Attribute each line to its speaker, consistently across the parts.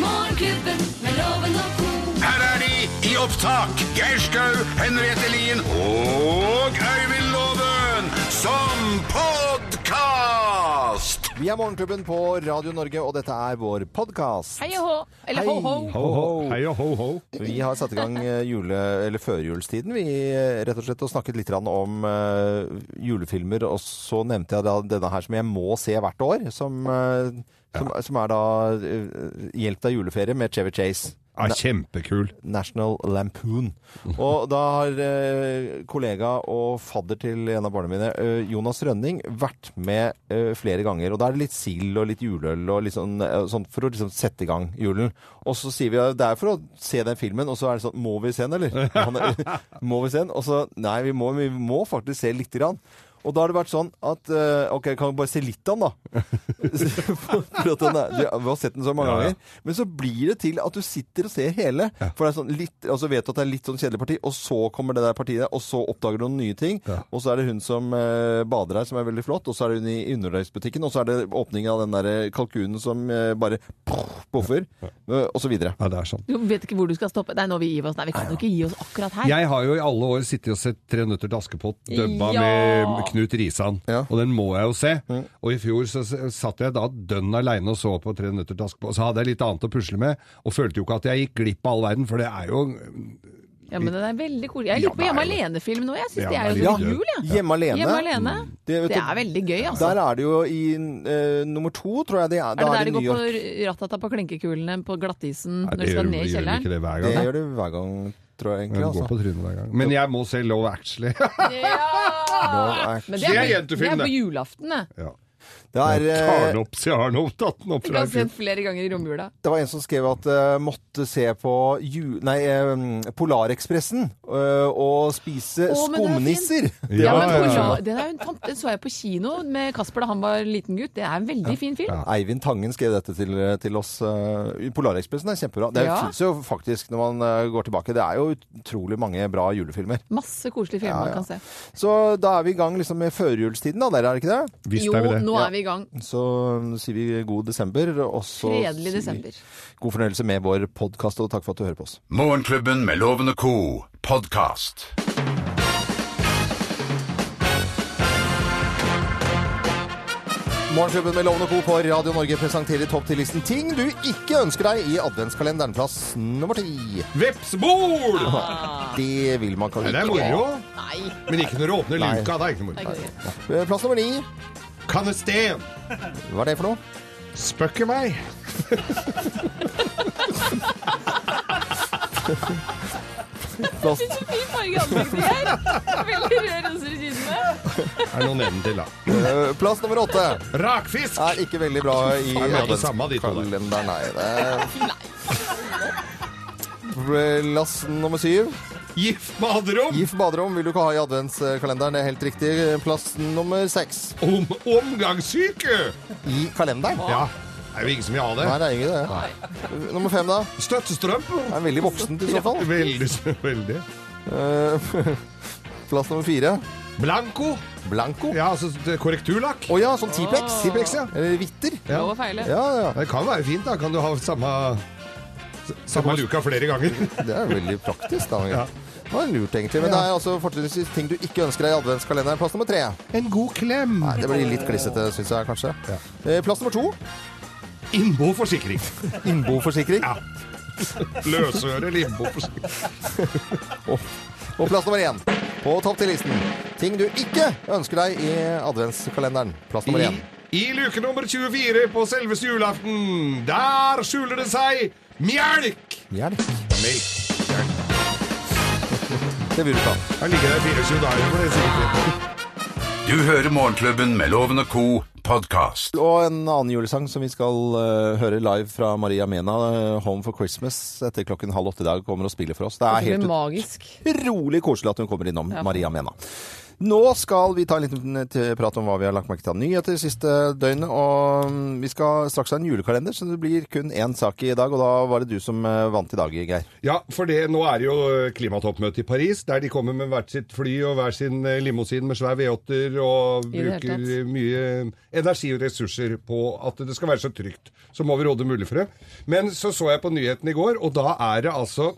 Speaker 1: Morgenklubben med loven og ko.
Speaker 2: Her er de i opptak. Geir Skau, Henriette Lien og Øyvind Loven som podkast!
Speaker 3: Vi er Morgenklubben på Radio Norge, og dette er vår podkast.
Speaker 4: Hei og hå. Eller ho, ho.
Speaker 5: Hei og ho, ho.
Speaker 3: Vi har satt i gang eh, jule- eller førjulstiden, vi eh, rett og slett, og snakket litt grann om eh, julefilmer. Og så nevnte jeg da denne her som jeg må se hvert år, som, eh, som, som er da eh, 'Hjelp deg juleferie' med Chevy Chase.
Speaker 5: Ja, kjempekul.
Speaker 3: National Lampoon. Og da har eh, kollega og fadder til en av barna mine, eh, Jonas Rønning, vært med eh, flere ganger. Og da er det litt sild og litt juleøl og litt sånn, eh, sånn for å liksom sette i gang julen. Og så sier vi at det er for å se den filmen, og så er det sånn Må vi se den, eller? Han er, må vi se den? Og så Nei, vi må, vi må faktisk se lite grann. Og da har det vært sånn at eh, OK, kan vi bare se litt av den, da? For at den er, du har sett den så mange
Speaker 5: Ja, ja.
Speaker 3: ganger. Men så blir det til at du sitter og ser hele. For det er sånn litt, altså vet du at det er litt sånn kjedelig parti, og så kommer det der partiet, og så oppdager du noen nye ting. Og så er det hun som eh, bader her, som er veldig flott, og så er det hun i undertøysbutikken, og så er det åpningen av den der kalkunen som eh, bare poffer, eh, og så videre.
Speaker 5: Ja, det er sånn.
Speaker 4: Du vet ikke hvor du skal stoppe. Nei, nå vil vi gi oss. Nei, vi kan jo ikke gi oss akkurat her.
Speaker 5: Jeg har jo i alle år sittet og sett 'Tre nøtter til Askepott' dubba
Speaker 4: Ja.
Speaker 5: med Knut Risan,
Speaker 3: Ja.
Speaker 5: og den må jeg jo se. Og i fjor så s- satt jeg da dønn aleine og så på 'Tre nøtter til Askepott', så hadde jeg litt annet å pusle med, og følte jo ikke at jeg gikk glipp av all verden, for det er jo
Speaker 4: Ja, men den er veldig koselig. Jeg
Speaker 5: Ja,
Speaker 4: lurer på
Speaker 5: det er jo-
Speaker 4: Hjemme alene-film nå. Jeg syns
Speaker 5: Ja, Mm.
Speaker 4: det
Speaker 5: det er
Speaker 4: er jo
Speaker 5: litt
Speaker 4: så
Speaker 5: gøy.
Speaker 4: jul, jeg.
Speaker 3: Hjemme alene.
Speaker 4: Hjemme alene.
Speaker 3: Det, vet
Speaker 4: Det
Speaker 3: du,
Speaker 4: er veldig gøy, altså.
Speaker 3: Der er det jo i eh, nummer to, tror jeg det er.
Speaker 4: Er det
Speaker 3: Da
Speaker 4: der det
Speaker 3: New
Speaker 4: går
Speaker 3: York.
Speaker 4: på rattata på klinkekulene på glattisen
Speaker 5: Nei,
Speaker 4: når du
Speaker 5: det
Speaker 4: skal
Speaker 5: gjør, gjør vi
Speaker 4: ned i
Speaker 5: ikke
Speaker 4: kjelleren?
Speaker 5: det hver
Speaker 3: Det
Speaker 5: gang.
Speaker 3: gjør du hver gang, tror jeg
Speaker 5: Jeg
Speaker 3: egentlig.
Speaker 5: går
Speaker 3: Altså.
Speaker 5: på trynet hver gang. Men jeg må se Love Actually.
Speaker 4: Ja!
Speaker 3: Nå er-
Speaker 4: Men
Speaker 5: Se
Speaker 4: det er, det
Speaker 5: jentefilm,
Speaker 4: er
Speaker 5: det.
Speaker 4: på julaften, det.
Speaker 5: ja.
Speaker 3: Det er,
Speaker 5: Jeg
Speaker 3: eh,
Speaker 5: tar den opp, så jeg har den opp, tatt den opp
Speaker 4: Du
Speaker 5: fra
Speaker 4: kan
Speaker 5: i
Speaker 4: se den
Speaker 5: fjor.
Speaker 4: flere ganger i romjula.
Speaker 3: Det var en som skrev at uh, måtte se på ju nei, em, Polarekspressen eh, og spise
Speaker 4: Å, men den er
Speaker 3: skumnisser.
Speaker 5: Ja,
Speaker 4: Ja, men
Speaker 5: ja, ja.
Speaker 4: Polar- Den, er jo en fant- den så jeg på kino med Kasper da han var liten gutt. Det er en veldig fin film.
Speaker 5: Ja.
Speaker 3: Eivind Tangen skrev dette til, til oss. eh, Polarekspressen er kjempebra. Det
Speaker 4: Ja.
Speaker 3: fins jo faktisk, når man eh, går tilbake, det er jo utrolig mange bra julefilmer.
Speaker 4: Masse koselige filmer man kan se.
Speaker 3: Så da er vi i gang liksom med førjulstiden, da, dere, er det ikke det?
Speaker 5: Visst
Speaker 4: Jo,
Speaker 5: er vi det.
Speaker 4: nå
Speaker 3: Ja.
Speaker 4: er vi i gang.
Speaker 3: Så mm, sier vi god desember, og så
Speaker 4: Fredelig
Speaker 3: sier vi
Speaker 4: desember.
Speaker 3: god fornøyelse med vår podkast, og takk for at du hører på oss.
Speaker 2: Morgenklubben med Loven og co. podkast.
Speaker 3: Morgenklubben med Lovende Co. på Radio Norge presenterer topp 10-listen ting du ikke ønsker deg i adventskalenderen. Plass nummer ti.
Speaker 5: Vepsbol!
Speaker 3: Det vil man kanskje
Speaker 5: Det er
Speaker 3: ikke.
Speaker 5: moro,
Speaker 4: Nei, det
Speaker 5: men ikke når du åpner
Speaker 3: Nei.
Speaker 5: luka. Det er ikke noe moro.
Speaker 4: er ikke det.
Speaker 3: Eh, Plass nummer ni.
Speaker 5: Kanesten!
Speaker 3: Hva er det for noe?
Speaker 5: Spøkke meg!
Speaker 3: Plass,
Speaker 4: Fin farge i ansiktet her. Veldig rød roser i kinnene.
Speaker 5: Er noen enden til, da.
Speaker 3: eh, plass nummer åtte.
Speaker 5: Rakfisk!
Speaker 3: Er ikke veldig bra i
Speaker 5: Faen, vi hadde samme, de to der.
Speaker 3: adventskalenderen. Nei, det Plass nummer syv.
Speaker 5: Gift med adrom!
Speaker 3: Gift baderom vil du ikke ha i adventskalenderen. Det er helt riktig. Plass nummer seks.
Speaker 5: Om, omgangssyke!
Speaker 3: I kalenderen?
Speaker 5: Ja. Det er jo ingen som vil ha
Speaker 3: Nei,
Speaker 5: det.
Speaker 3: det er ikke det. Nummer fem, da?
Speaker 5: Støttestrømper!
Speaker 3: Er veldig voksent i så fall.
Speaker 5: Veldig, veldig.
Speaker 3: Eh, Plass nummer fire.
Speaker 5: Blanco.
Speaker 3: Blanco. Å ja.
Speaker 5: Ja, altså det- korrekturlakk.
Speaker 3: sånn Tiplex.
Speaker 5: Tipex, ja.
Speaker 3: Eller Hvitter.
Speaker 5: Ja.
Speaker 4: Lov å feile.
Speaker 3: Ja, ja.
Speaker 5: Det kan være fint, da. Kan du ha samme s- Samme luka flere ganger.
Speaker 3: Det er veldig praktisk. da.
Speaker 5: Ja.
Speaker 3: Det var lurt, egentlig. Men det er altså fortrinnsvis ting du ikke ønsker deg i adventskalenderen. Plass nummer tre.
Speaker 5: En god klem.
Speaker 3: Nei, det blir litt klissete, syns jeg kanskje.
Speaker 5: Ja.
Speaker 3: Eh, Plass nummer to.
Speaker 5: Innbo forsikring.
Speaker 3: Innboforsikring.
Speaker 5: Ja. Løsøre limbo forsikring.
Speaker 3: Og plass nummer én på topp til listen. Ting du ikke ønsker deg i adventskalenderen. Plass nummer
Speaker 5: I,
Speaker 3: én.
Speaker 5: I luke nummer 24 på selveste julaften, der skjuler det seg mjelk!
Speaker 3: Mjelk.
Speaker 5: Melk.
Speaker 3: Det vil du ikke ha.
Speaker 5: Jeg ligger der 24 dager, for det er sikkert.
Speaker 2: Du hører Morgenklubben med Loven og co. podkast.
Speaker 3: Og en annen julesang som vi skal eh, høre live fra Maria Mena, eh, 'Home for Christmas', etter klokken halv åtte i dag kommer og spiller for oss. Det er
Speaker 4: Det
Speaker 3: helt
Speaker 4: blir magisk.
Speaker 3: utrolig koselig at hun kommer innom, Maria Mena. Nå skal vi ta en liten t- prat om hva vi har lagt merke til av nyheter siste døgnet. Og mm, vi skal straks ha en julekalender, så det blir kun én sak i dag. Og da var det du som eh, vant i dag, Geir.
Speaker 5: Ja, for det, nå er det jo eh, klimatoppmøte i Paris, der de kommer med hvert sitt fly og hver sin eh, limousin med svær V8-er og
Speaker 4: I det hele
Speaker 5: bruker mye energi og ressurser på at det skal være så trygt som overhodet mulig for dem. Men så så jeg på nyheten i går, og da er det altså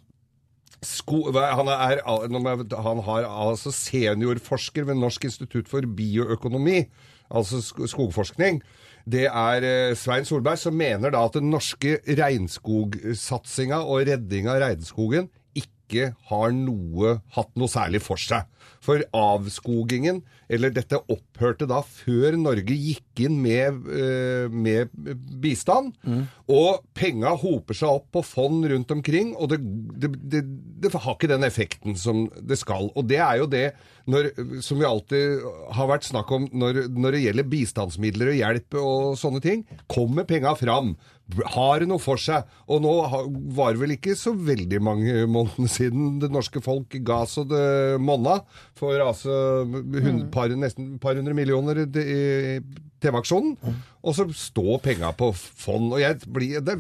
Speaker 5: Sko, hva- han, er, al- nå må jeg- han har altså seniorforsker ved Norsk institutt for bioøkonomi, altså sk- skogforskning. Det er eh, Svein Solberg som mener da at den norske regnskogsatsinga og reddinga av regnskogen ikke har noe, hatt noe særlig for seg. For avskogingen, eller dette opphørte da før Norge gikk inn med, eh, med bistand, og penga hoper seg opp på fond rundt omkring, og det, det, det, det har ikke den effekten som det skal. Og det er jo det når, som vi alltid har vært snakk om når, når det gjelder bistandsmidler og hjelp og sånne ting. Kommer penga fram? Har det noe for seg? Og nå har- var det vel ikke så veldig mange månedene siden det norske folk ga så det monna for altså hund, par, nesten et par hundre millioner i- i TV-aksjonen. Og så står penga på fond. Og jeg blir, det,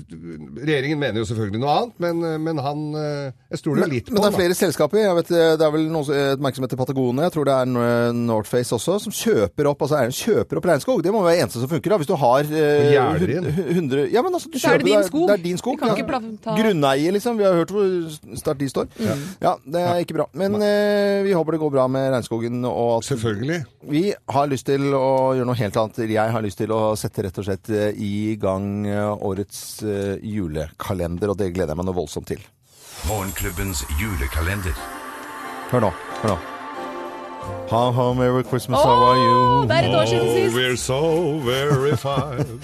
Speaker 5: regjeringen mener jo selvfølgelig noe annet, men, men han eh, Jeg stoler jo litt på
Speaker 3: Men det
Speaker 5: han,
Speaker 3: er
Speaker 5: da.
Speaker 3: flere selskaper. Jeg vet, eh, det er vel noe, som- et merke som heter Patagonia. Jeg tror det er eh, Northface også, som kjøper opp altså, eierne kjøper opp regnskog. Det må være det eneste som funker. da, Hvis du har eh,
Speaker 5: Gjerder i den.
Speaker 3: hun- 100 Ja, men altså, du
Speaker 4: Så er
Speaker 3: kjøper
Speaker 4: det din skog.
Speaker 3: Det er din skog.
Speaker 4: Vi kan ikke pla- ta-
Speaker 3: Grunneier, liksom. Vi har hørt hvor sterkt de står. Ja. det er ikke bra. Men eh, vi håper det går bra med regnskogen, og at
Speaker 5: Selvfølgelig.
Speaker 3: vi har lyst til å gjøre noe helt annet. eller Jeg har lyst til å sette rett og slett eh, i gang eh, årets eh, julekalender, og det gleder jeg meg noe voldsomt til.
Speaker 2: Morgenklubbens julekalender.
Speaker 3: Hør nå. hør nå. How, how, merry Christmas, how are
Speaker 4: Åh,
Speaker 3: you?
Speaker 4: det er et år siden
Speaker 5: Oh,
Speaker 4: sist!
Speaker 5: we're so very fine.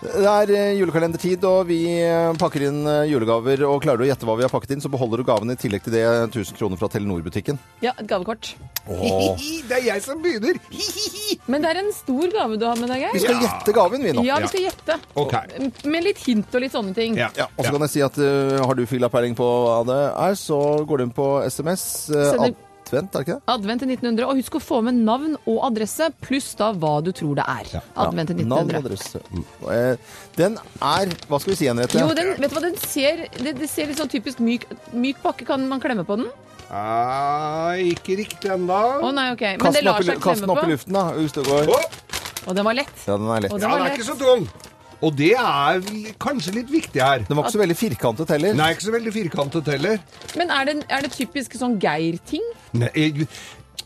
Speaker 3: Det er eh, julekalendertid, og vi eh, pakker inn eh, julegaver. Og klarer du å gjette hva vi har pakket inn, så beholder du gaven i tillegg til det 1000 kroner fra Telenor-butikken.
Speaker 4: Ja, et gavekort.
Speaker 5: det er jeg som begynner!
Speaker 4: Men det er en stor gave du har med deg,
Speaker 3: Vi
Speaker 4: Geir.
Speaker 3: skal gjette gaven, vi nå.
Speaker 4: Ja, vi skal gjette.
Speaker 5: Ok.
Speaker 4: Med litt hint og litt sånne ting.
Speaker 5: Ja.
Speaker 3: Ja, og så kan jeg si at eh, har du filla peiling på hva det er, så går du inn på SMS. eh,
Speaker 4: Sender-
Speaker 3: Advent, er det ikke det?
Speaker 4: Advent til 1900, og husk å få med navn og adresse, pluss da hva du tror det er. Advent til
Speaker 3: Navn og
Speaker 4: 1900.
Speaker 3: adresse. Eh, Den er Hva skal vi si, Henriette?
Speaker 4: Jo, den, vet du hva, den ser, det, det ser litt sånn typisk myk, myk pakke. Kan man klemme på den?
Speaker 5: Ah, ikke riktig
Speaker 4: Å
Speaker 5: ennå.
Speaker 4: nei, ok. Men
Speaker 3: Kast
Speaker 4: det
Speaker 3: den opp
Speaker 4: lar
Speaker 3: i lu- kast
Speaker 4: seg
Speaker 3: den
Speaker 4: klemme
Speaker 3: opp i
Speaker 4: på.
Speaker 3: luften, da. Hvis det går.
Speaker 5: Å,
Speaker 4: Og den var lett.
Speaker 3: Ja, den er lett.
Speaker 4: Og
Speaker 3: Den
Speaker 5: ja,
Speaker 4: den var
Speaker 5: den er
Speaker 4: lett.
Speaker 5: ikke så tung. Og det er vel kanskje litt viktig her.
Speaker 3: var ikke så veldig firkantet heller.
Speaker 5: Den er ikke så veldig firkantet heller.
Speaker 4: Men er det, er det typisk sånn Geir-ting?
Speaker 5: Nei, jeg-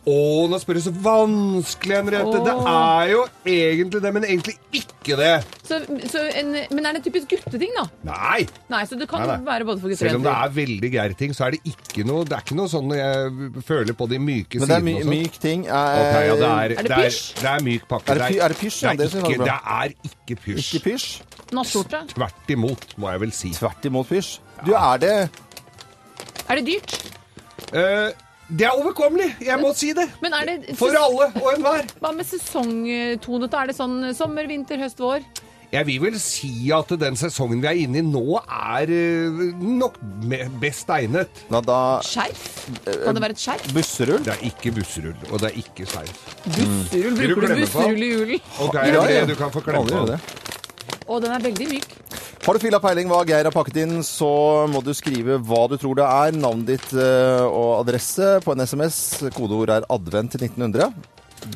Speaker 5: Å, nå spør du så vanskelig, Henriette. Det
Speaker 4: Åh.
Speaker 5: er jo egentlig det, men egentlig ikke det.
Speaker 4: Så, så en, men er det typisk gutteting, da?
Speaker 5: Nei!
Speaker 4: Nei, så det kan
Speaker 5: Nei, nei.
Speaker 4: være både for gutter
Speaker 5: Selv om
Speaker 4: og
Speaker 5: det
Speaker 4: jenter.
Speaker 5: er veldig Geir-ting, så er det ikke noe Det er ikke noe sånn jeg føler på de myke
Speaker 3: Men det er
Speaker 5: sidene.
Speaker 3: my
Speaker 5: og sånn.
Speaker 3: myk ting. Eh,
Speaker 5: Ok, ja, det er,
Speaker 4: Er det pysj?
Speaker 5: Det er, det er myk pakke.
Speaker 3: Er det py- er det pysj? Ja,
Speaker 5: det,
Speaker 3: det synes
Speaker 5: er
Speaker 3: jeg var
Speaker 5: ikke, det
Speaker 3: bra.
Speaker 5: er ikke pysj.
Speaker 3: Ikke pysj.
Speaker 4: Nattskjorte?
Speaker 5: Tvert imot, må jeg vel si.
Speaker 3: Tvert imot pysj. Du er det
Speaker 4: Er det dyrt?
Speaker 5: Eh, det er overkommelig, jeg må si det.
Speaker 4: Men er det
Speaker 5: For alle og enhver.
Speaker 4: Hva med sesongtonete? Er det sånn sommer, vinter, høst, vår?
Speaker 5: Jeg vil vel si at den sesongen vi er inne i nå, er eh, nok me- best egnet.
Speaker 3: Nå, da
Speaker 4: Skjerf? Kan det være et skjerf?
Speaker 3: Busserull.
Speaker 5: Det er ikke busserull, og det er ikke skjerf.
Speaker 4: Busserull?
Speaker 5: Vil du
Speaker 4: Bruker du
Speaker 5: klemme på?
Speaker 4: busserull i julen?
Speaker 5: Og det
Speaker 3: Ja,
Speaker 5: er det
Speaker 3: ja.
Speaker 5: du kan få
Speaker 3: Alle
Speaker 5: klemme
Speaker 3: gjør
Speaker 5: på.
Speaker 3: det.
Speaker 4: Å, den er veldig myk.
Speaker 3: Har du filla peiling hva Geir har pakket inn, så må du skrive hva du tror det er, navnet ditt eh, og adresse på en SMS. Kodeord er advent til 1900.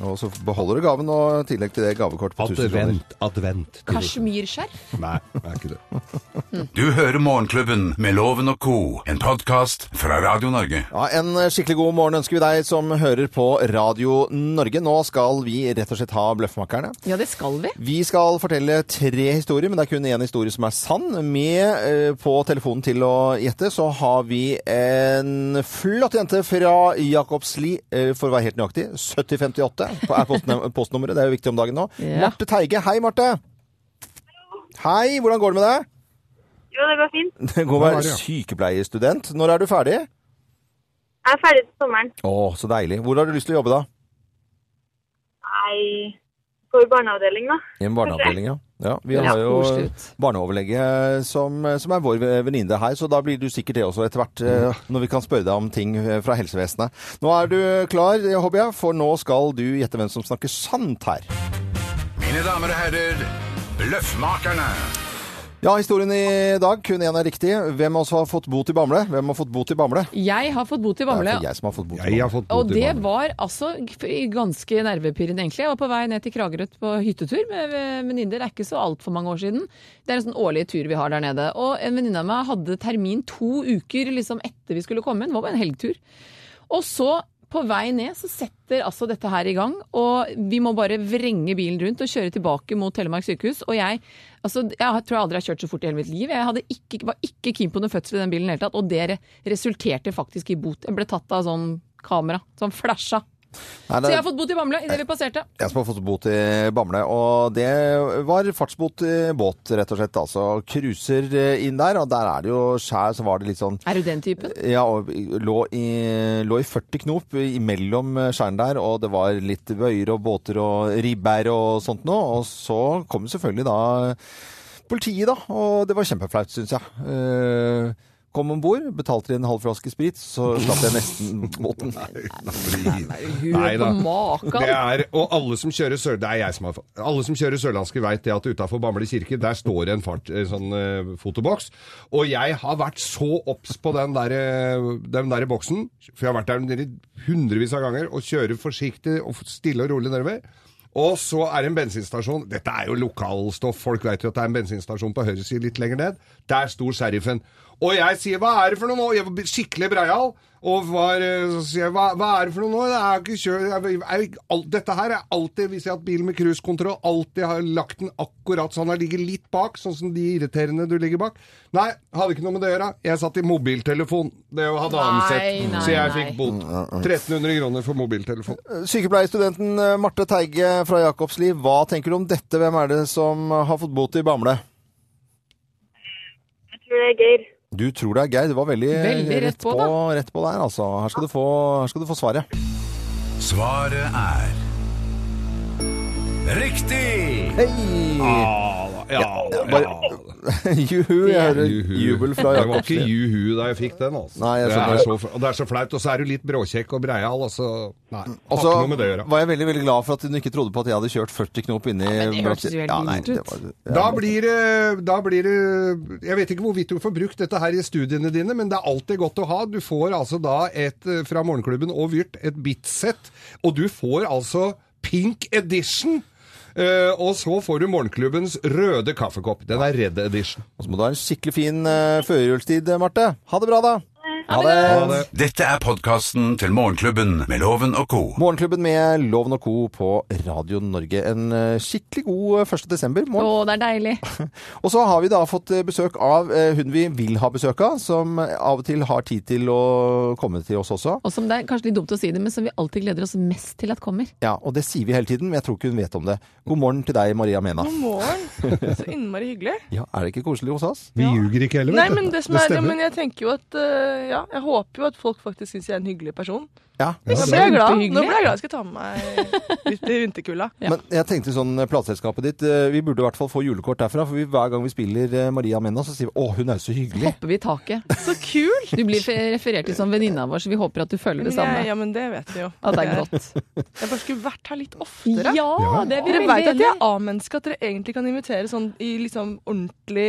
Speaker 3: Og så beholder du gaven, og i tillegg til det gavekort på 1000 kroner.
Speaker 5: advent.
Speaker 4: Kasjmirskjerf?
Speaker 5: Nei, det er ikke det.
Speaker 2: Du hører Morgenklubben med Loven og co., en podkast fra Radio Norge.
Speaker 3: Ja, En skikkelig god morgen ønsker vi deg som hører på Radio Norge. Nå skal vi rett og slett ha Bløffmakerne.
Speaker 4: Ja, det skal vi.
Speaker 3: Vi skal fortelle tre historier, men det er kun én historie som er sann. Med eh, på telefonen til å gjette så har vi en flott jente fra Jakobsli, eh, for å være helt nøyaktig. 7058 på- er postnum- postnummeret. Det er jo viktig om dagen nå.
Speaker 4: Ja.
Speaker 3: Marte Teige. Hei, Marte. Hei, hvordan går det med deg?
Speaker 6: Jo, det går fint.
Speaker 3: Det
Speaker 5: Ja,
Speaker 3: går med
Speaker 5: det, ja.
Speaker 3: sykepleierstudent. Når er du ferdig?
Speaker 6: Jeg er ferdig til sommeren.
Speaker 3: Å, så deilig. Hvor har du lyst til å jobbe da?
Speaker 6: Nei, går i barneavdeling, da.
Speaker 3: I en barneavdeling, ja. ja vi har
Speaker 4: Ja,
Speaker 3: jo
Speaker 4: koselig ut.
Speaker 3: barneoverlege som, som er vår venninne her, så da blir du sikkert det også etter hvert, eh, når vi kan spørre deg om ting eh, fra helsevesenet. Nå er du klar, eh, håper jeg, for nå skal du gjette hvem som snakker sant her.
Speaker 2: Mine damer og herrer, Bløffmakerne.
Speaker 3: Ja, historien i dag, kun én er riktig. Hvem av oss har fått bot i Bamble? Hvem har fått bot i Bamble?
Speaker 4: Jeg har fått bot i
Speaker 3: Det er
Speaker 4: Bamble.
Speaker 3: for jeg som har fått bot i
Speaker 5: Jeg har
Speaker 3: Bamble.
Speaker 5: fått
Speaker 4: Og
Speaker 5: bot i
Speaker 4: det
Speaker 5: vannet.
Speaker 4: var altså g- ganske nervepirrende, egentlig. Jeg var på vei ned til Kragerø på hyttetur med med venninner. Det er ikke så altfor mange år siden. Det er en sånn årlig tur vi har der nede. Og en venninne av meg hadde termin to uker liksom etter vi skulle komme inn. Det var bare en helgetur. Og så, på vei ned, så setter altså dette her i gang. Og vi må bare vrenge bilen rundt og kjøre tilbake mot Telemark sykehus. Og jeg altså, jeg tror jeg aldri har kjørt så fort i hele mitt liv. Jeg hadde ikke, var ikke keen på noe fødsel i den bilen i det hele tatt. Og det re- resulterte faktisk i bot. Jeg ble tatt av sånn kamera. Sånn flasha.
Speaker 3: Nei,
Speaker 4: Så
Speaker 3: det
Speaker 4: jeg
Speaker 3: er
Speaker 4: har fått bot i Bamble idet vi passerte.
Speaker 3: jeg som har fått bot i Bamble, og det var fartsbot i båt, rett og slett. Altså cruiser eh, inn der, og der er det jo skjær, så var det litt sånn
Speaker 4: Er du den typen?
Speaker 3: Ja, og lå i, lå i 40 knop imellom skjæren der, og det var litt bøyer og båter og ribbær og sånt noe. Og så kom selvfølgelig da politiet, da, og det var kjempeflaut, syns jeg. Eh, kom om bord, betalte en halv flaske sprit, så slapp jeg nesten båten.
Speaker 5: Nei da. Det
Speaker 4: Makan.
Speaker 5: er, og alle som kjører, sør, det er jeg som har, alle som kjører sørlandske vet det at utafor Bamble kirke, der står det en fart, en sånn eh, fotoboks. Og jeg har vært så obs på den der, eh, den der boksen, for jeg har vært der nede hundrevis av ganger, og kjører forsiktig og stille og rolig nedover. Og så er det en bensinstasjon. Dette er jo lokalstoff. Folk vet jo at det er en bensinstasjon på høyre side litt lenger ned. Der sto sheriffen. Og jeg sier 'hva er det for noe nå?' Jeg var skikkelig breial. Og var, eh, så sier jeg hva, 'hva er det for noe nå?' Det er jo ikke kjø jeg, jeg, alt, dette her er alltid Hvis jeg har hatt bil med cruisekontroll, alltid har lagt den akkurat sånn jeg ligger litt bak. Sånn som de irriterende du ligger bak. Nei, hadde ikke noe med det å gjøre. Jeg satt i mobiltelefon. Det hadde ansett.
Speaker 4: nei,
Speaker 5: Så jeg
Speaker 4: nei.
Speaker 5: fikk bot. 1300 kroner for mobiltelefon.
Speaker 3: Sykepleierstudenten eh, Marte Teige fra Jakobsliv, hva tenker du om dette? Hvem er det som har fått bot i Bamble?
Speaker 6: Jeg tror det er Geir.
Speaker 3: Du tror det er Geir. Det var veldig,
Speaker 4: Veldig rett på, da.
Speaker 3: rett på der, altså. Her skal du få, her skal du få svaret.
Speaker 2: Svaret er Riktig!
Speaker 5: Ja, da, ja, da,
Speaker 3: bare-
Speaker 5: ja. da.
Speaker 3: Juhu, jeg hører
Speaker 5: Ah. Juhu.
Speaker 3: jubel fra
Speaker 5: Det var ikke
Speaker 3: Jakobsliv.
Speaker 5: juhu da jeg fikk den, altså.
Speaker 3: Nei, jeg
Speaker 5: det,
Speaker 3: skjønner.
Speaker 5: er så, og det er så flaut, og så er du litt bråkjekk og breial, altså. Nei,
Speaker 3: Og
Speaker 5: har
Speaker 3: så
Speaker 5: ikke noe med det å gjøre.
Speaker 3: var jeg veldig veldig glad for at hun ikke trodde på at jeg hadde kjørt 40 knop inni
Speaker 4: men det hørtes jo helt
Speaker 3: nei,
Speaker 4: vilt
Speaker 3: det
Speaker 4: ut.
Speaker 3: var-
Speaker 5: Da blir det Da blir det Jeg vet ikke hvorvidt du får brukt dette her i studiene dine, men det er alltid godt å ha. Du får altså da et eh, fra Morgenklubben og Vyrt, et bitsett, og du får altså Pink Edition. Eh, og så får du Morgenklubbens røde kaffekopp. Den er Red Edition.
Speaker 3: Og så må du ha en skikkelig fin uh, førjulstid, Marte. Ha det bra, da.
Speaker 5: Ha
Speaker 3: Ha
Speaker 5: det.
Speaker 2: Dette er podkasten til Morgenklubben med Loven og co.
Speaker 3: Morgenklubben med Loven og Co. på Radio Norge. En eh, skikkelig god eh, 1. desember.
Speaker 4: Å,
Speaker 3: morgen.
Speaker 4: det er deilig.
Speaker 3: Og så har vi da fått eh, besøk av eh, hun vi vil ha besøk av, som eh, av og til har tid til å komme til oss også.
Speaker 4: Og som det er kanskje litt dumt å si det, men som vi alltid gleder oss mest til at kommer.
Speaker 3: Ja, Og det sier vi hele tiden, men jeg tror ikke hun vet om det. God morgen til deg, Maria Mena.
Speaker 7: God morgen. Så innmari hyggelig.
Speaker 3: Ja, Er det ikke koselig hos oss?
Speaker 5: Vi ljuger ikke heller,
Speaker 7: Nei,
Speaker 5: vet du.
Speaker 7: men det som er, ja,
Speaker 5: stemmer.
Speaker 7: men jeg tenker jo at eh, Ja, jeg håper jo at folk faktisk syns jeg er en hyggelig person.
Speaker 3: Ja.
Speaker 7: Nå ble jeg glad.
Speaker 4: Kjempehyggelig.
Speaker 7: Nå ble jeg glad. Jeg skal ta med meg litt i vinterkulda.
Speaker 4: Ja.
Speaker 3: Men jeg tenkte sånn, plateselskapet ditt, eh, vi burde i hvert fall få julekort derfra, for vi, hver gang vi spiller eh, Maria Mena, så sier vi 'Å, hun er jo så hyggelig'.
Speaker 4: Hopper vi i taket.
Speaker 7: Så kult!
Speaker 4: Du blir fe- referert til som venninna vår, så vi håper at du føler
Speaker 7: Men
Speaker 4: det
Speaker 7: jeg,
Speaker 4: samme.
Speaker 7: ja, men det vet vi jo.
Speaker 4: At det er godt.
Speaker 7: Jeg bare skulle vært her litt oftere.
Speaker 4: Ja, det vil
Speaker 7: Dere
Speaker 4: vi
Speaker 7: veit at jeg
Speaker 4: veldig.
Speaker 7: er A-menneske, at dere egentlig kan invitere sånn i liksom ordentlig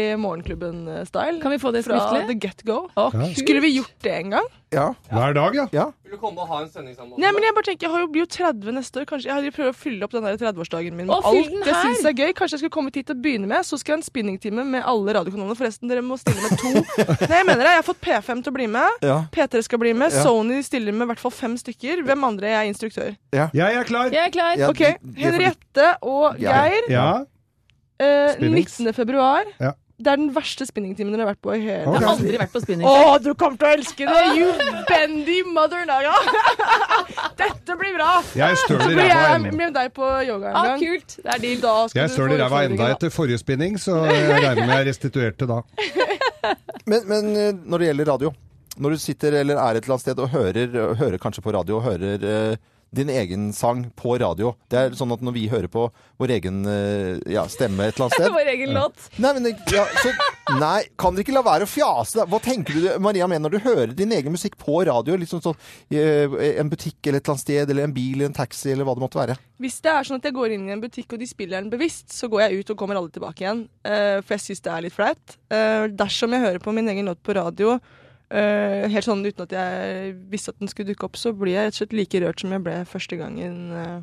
Speaker 7: Morgenklubben-style.
Speaker 4: Kan vi få det
Speaker 7: Fra
Speaker 4: skriftlig?
Speaker 7: the get go.
Speaker 4: Å,
Speaker 7: Skulle vi gjort det en gang?
Speaker 3: Ja.
Speaker 5: Hver dag, ja.
Speaker 3: ja.
Speaker 8: Vil du komme og ha en sending sammen med oss?
Speaker 7: Nei, men Jeg bare tenker, jeg har jo blir jo 30 neste år. Kanskje Jeg prøver å fylle opp den der 30-årsdagen min med
Speaker 4: Å, fyll
Speaker 7: alt
Speaker 4: den
Speaker 7: jeg
Speaker 4: her!
Speaker 7: syns er gøy. Kanskje jeg skulle kommet hit til å begynne med. Så skal jeg ha en spinningtime med alle radiokanalene. Forresten, dere må stille med to. Nei, jeg mener det. Jeg har fått P5 til å bli med.
Speaker 3: Ja.
Speaker 7: P3 skal bli med.
Speaker 3: Ja.
Speaker 7: Sony stiller med i hvert fall fem stykker. Hvem andre? Jeg er instruktør.
Speaker 5: Jeg er klar.
Speaker 4: Jeg er klar.
Speaker 3: Ja,
Speaker 7: OK.
Speaker 3: det- det er fordi-
Speaker 7: Henriette og
Speaker 3: Ja.
Speaker 7: Geir.
Speaker 5: Ja.
Speaker 7: Eh,
Speaker 5: Spinnings.
Speaker 7: 19. februar.
Speaker 5: Ja.
Speaker 7: Det er den verste spinningtimen dere har vært på i hele
Speaker 4: Jeg
Speaker 5: Ok.
Speaker 4: har aldri vært på spinning.
Speaker 7: Å, du kommer til å elske det! You bendy mother naga! Dette blir bra!
Speaker 5: Jeg støler
Speaker 7: Så
Speaker 5: ræva
Speaker 7: blir jeg
Speaker 5: ennå.
Speaker 7: med deg på yoga en
Speaker 4: Ah,
Speaker 7: gang.
Speaker 4: kult! Det er deal.
Speaker 7: Da skal
Speaker 5: Jeg
Speaker 7: du
Speaker 5: støler
Speaker 7: få
Speaker 5: ræva enda
Speaker 7: utfordringer, da.
Speaker 5: etter forrige spinning, så jeg regner med jeg restituerte da.
Speaker 3: Men, men eh, når det gjelder radio, når du sitter eller er et eller annet sted og hører, hører kanskje på radio og hører eh, din egen sang på radio. Det er sånn at når vi hører på vår egen eh, ja, stemme et eller annet sted
Speaker 4: Vår egen låt.
Speaker 3: Nei, men det- ja, så, nei, kan dere ikke la være å fjase? da? Hva tenker du, Maria, med når du hører din egen musikk på radio? Liksom sånn eh, en butikk eller et eller annet sted, eller en bil, eller en taxi, eller hva det måtte være.
Speaker 7: Hvis det er sånn at jeg går inn i en butikk og de spiller den bevisst, så går jeg ut og kommer aldri tilbake igjen. eh, for jeg syns det er litt flaut. Eh, dersom jeg hører på min egen låt på radio eh, helt sånn uten at jeg visste at den skulle dukke opp, så blir jeg rett og slett like rørt som jeg ble første gangen eh,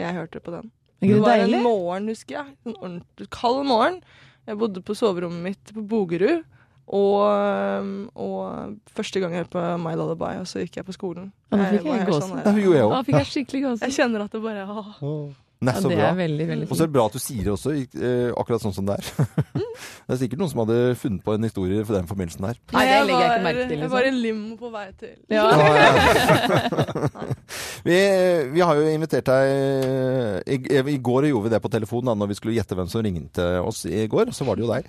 Speaker 7: jeg hørte på den.
Speaker 4: Er
Speaker 7: Det
Speaker 4: ikke det
Speaker 7: var en
Speaker 4: deilig?
Speaker 7: morgen, husker jeg. En ordentlig kald morgen. Jeg bodde på soverommet mitt på Bogerud. Og, um, og første gang jeg hørte på My Lullaby, og så gikk jeg på skolen.
Speaker 4: Ja, nå fikk
Speaker 7: var
Speaker 4: jeg
Speaker 7: helt
Speaker 4: gåsen.
Speaker 3: Det
Speaker 7: der,
Speaker 3: gjorde jeg
Speaker 4: Da
Speaker 3: òg.
Speaker 4: fikk jeg skikkelig gåsehud.
Speaker 7: jeg kjenner at det bare åh.
Speaker 3: Nei,
Speaker 4: Ja,
Speaker 3: så
Speaker 4: det
Speaker 3: bra.
Speaker 4: er veldig, veldig
Speaker 3: Og så er
Speaker 4: fint.
Speaker 3: det bra at du sier det også, i- eh, akkurat sånn som det er. det er sikkert noen som hadde funnet på en historie for den forbindelsen der.
Speaker 4: Nei, det legger jeg ikke merke til.
Speaker 7: Jeg var i
Speaker 4: Liksom.
Speaker 7: limo på vei til.
Speaker 4: Ja.
Speaker 3: Vi, vi har jo invitert deg eh, i, I går gjorde vi det på telefonen da når vi skulle gjette hvem som ringte oss i går. Så var det jo deg.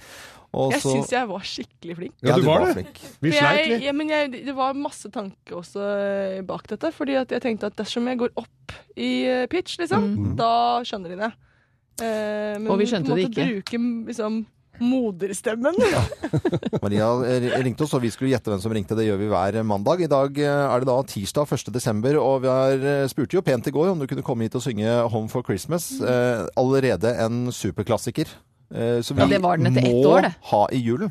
Speaker 3: Og
Speaker 7: Jeg
Speaker 3: så-
Speaker 7: syns jeg var skikkelig flink.
Speaker 5: Ja, du var det.
Speaker 3: flink.
Speaker 5: Vi
Speaker 7: For
Speaker 5: sleit
Speaker 7: jeg,
Speaker 5: litt.
Speaker 7: ja, men jeg, det var masse tanke også eh, bak dette. Fordi at jeg tenkte at dersom jeg går opp i eh, pitch, liksom,
Speaker 5: Mm.
Speaker 7: da skjønner de det. Eh, men
Speaker 4: Og vi skjønte
Speaker 7: på en
Speaker 4: det
Speaker 7: måte Bruke liksom, moderstemmen.
Speaker 3: Maria eh, ringte oss, og vi skulle gjette hvem som ringte. Det gjør vi hver mandag. I dag eh, er det da tirsdag 1. desember, og vi har eh, spurte jo pent i går om du kunne komme hit og synge 'Home for Christmas'. Eh, allerede en superklassiker. Eh, som vi
Speaker 4: Ja, det var den etter ett
Speaker 3: må
Speaker 4: år, det.
Speaker 3: ha i julen.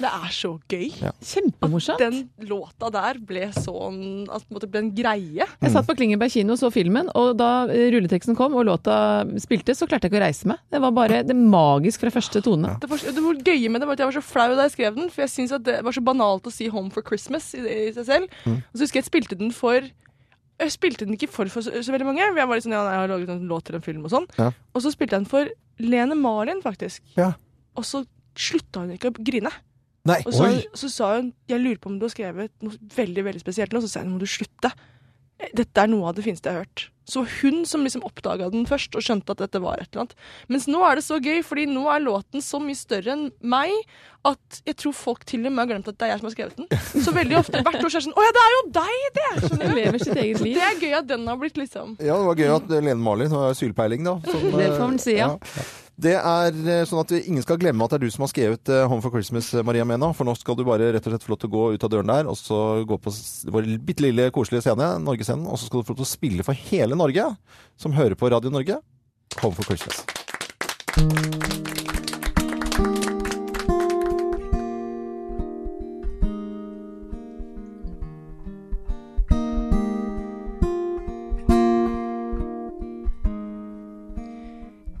Speaker 7: Det er så gøy.
Speaker 4: Kjempemorsomt.
Speaker 7: Den låta der ble sånn At på en måte ble en greie.
Speaker 4: Jeg satt på Klingeberg kino og så filmen, og da eh, rulleteksten kom og låta spilte, så klarte jeg ikke å reise meg. Det var bare det magisk fra første tone.
Speaker 7: Det, var, det var gøye med det var at jeg var så flau da jeg skrev den, for jeg syntes at det var så banalt å si 'Home for Christmas' i, i seg selv.
Speaker 3: Mm.
Speaker 7: Og så husker jeg jeg spilte den for Jeg spilte den ikke for, for så, så veldig mange. for Jeg var litt sånn, ja, nei, jeg har laget en låt til en film og sånn.
Speaker 3: Ja.
Speaker 7: Og så spilte jeg den for Lene Marlin, faktisk.
Speaker 3: Ja.
Speaker 7: Og så slutta hun ikke å grine.
Speaker 3: Nei.
Speaker 7: Og så, så sa hun 'Jeg lurer på om du har skrevet noe veldig veldig spesielt nå.' Så sa jeg 'Nå må du slutte'. Eh, Dette er noe av det fineste jeg har hørt. Så hun som liksom oppdaga den først og skjønte at dette var et eller annet. Mens nå er det så gøy, fordi nå er låten så mye større enn meg at jeg tror folk til og med har glemt at det er jeg som har skrevet den. Så veldig ofte hvert år så er det sånn 'Å ja, det er jo deg, det!' Skjønner
Speaker 4: Den
Speaker 7: du?
Speaker 4: lever sitt eget liv.
Speaker 7: Det er gøy at den har blitt liksom
Speaker 3: Ja, det var gøy at eh, Lene Marlin har sylpeiling, da. som, eh,
Speaker 4: Det får man si, ja.
Speaker 3: ja. Det er eh, sånn at ingen skal glemme at det er du som har skrevet eh, 'Home for Christmas', eh, Maria Mena. For nå skal du bare rett og slett få lov til å gå ut av døren der, og så gå på s- vår bitte lille koselige scene, Norgescenen, og så skal du få lov til å spille for hele Norge, som hører på Radio Norge, 'Home for Christmas'.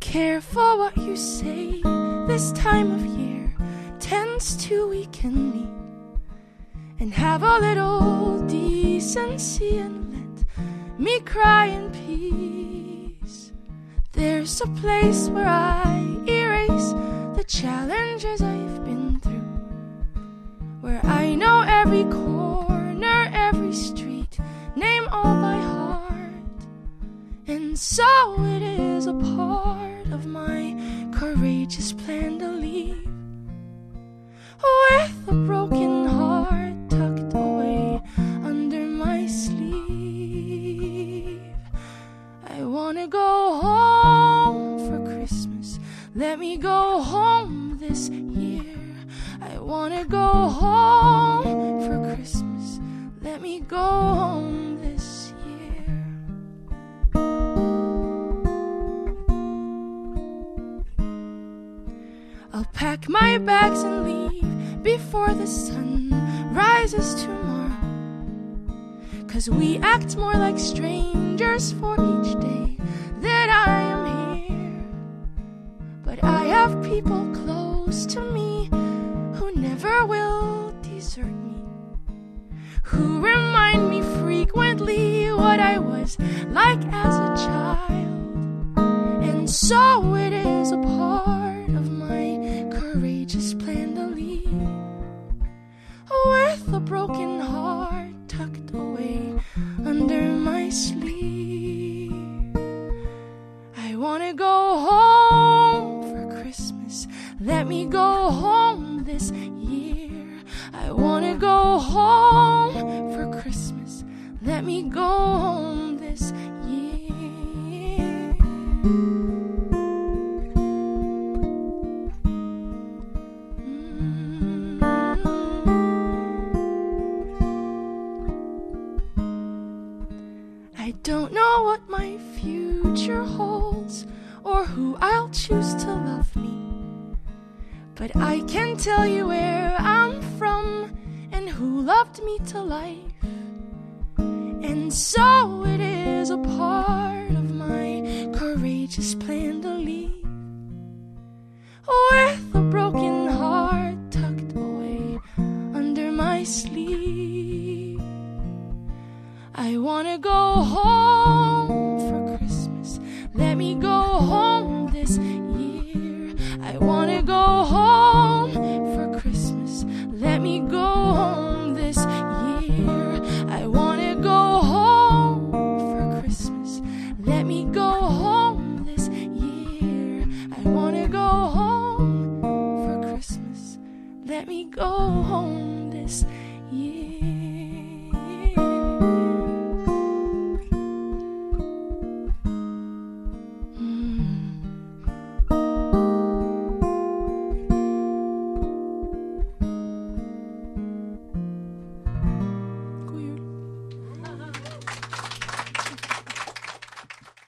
Speaker 8: Careful what you say this time of year tends to weaken me. And have a little decency and let me cry in peace. There's a place where I erase the challenges I've been through, where I know every corner, every street, name all by heart. And so it is a part of my courageous plan to leave. With a broken heart tucked away under my sleeve. I wanna go home for Christmas. Let me go home this year. I wanna go home for Christmas. Let me go home this year. I'll pack my bags and leave before the sun rises tomorrow. Cause we act more like strangers for each day that I am here. But I have people close to me who never will desert me. Who remind me frequently what I was like as a child. And so it is a part of my courageous plan to leave. With a broken heart tucked away under my sleeve. I wanna go home for Christmas. Let me go home this year. I wanna go home for Christmas. Let me go home this year. don't know what my future holds or who I'll choose to love me. But I can tell you where I'm from and who loved me to life. And so it is a part of my courageous plan to leave with a broken heart tucked away under my sleeve. I wanna go home for Christmas. Let me go home this year. I wanna go home for Christmas. Let me go home this year. I wanna go home for Christmas. Let me go home this year. I wanna go home for Christmas. Let me go home this year.
Speaker 4: Mm.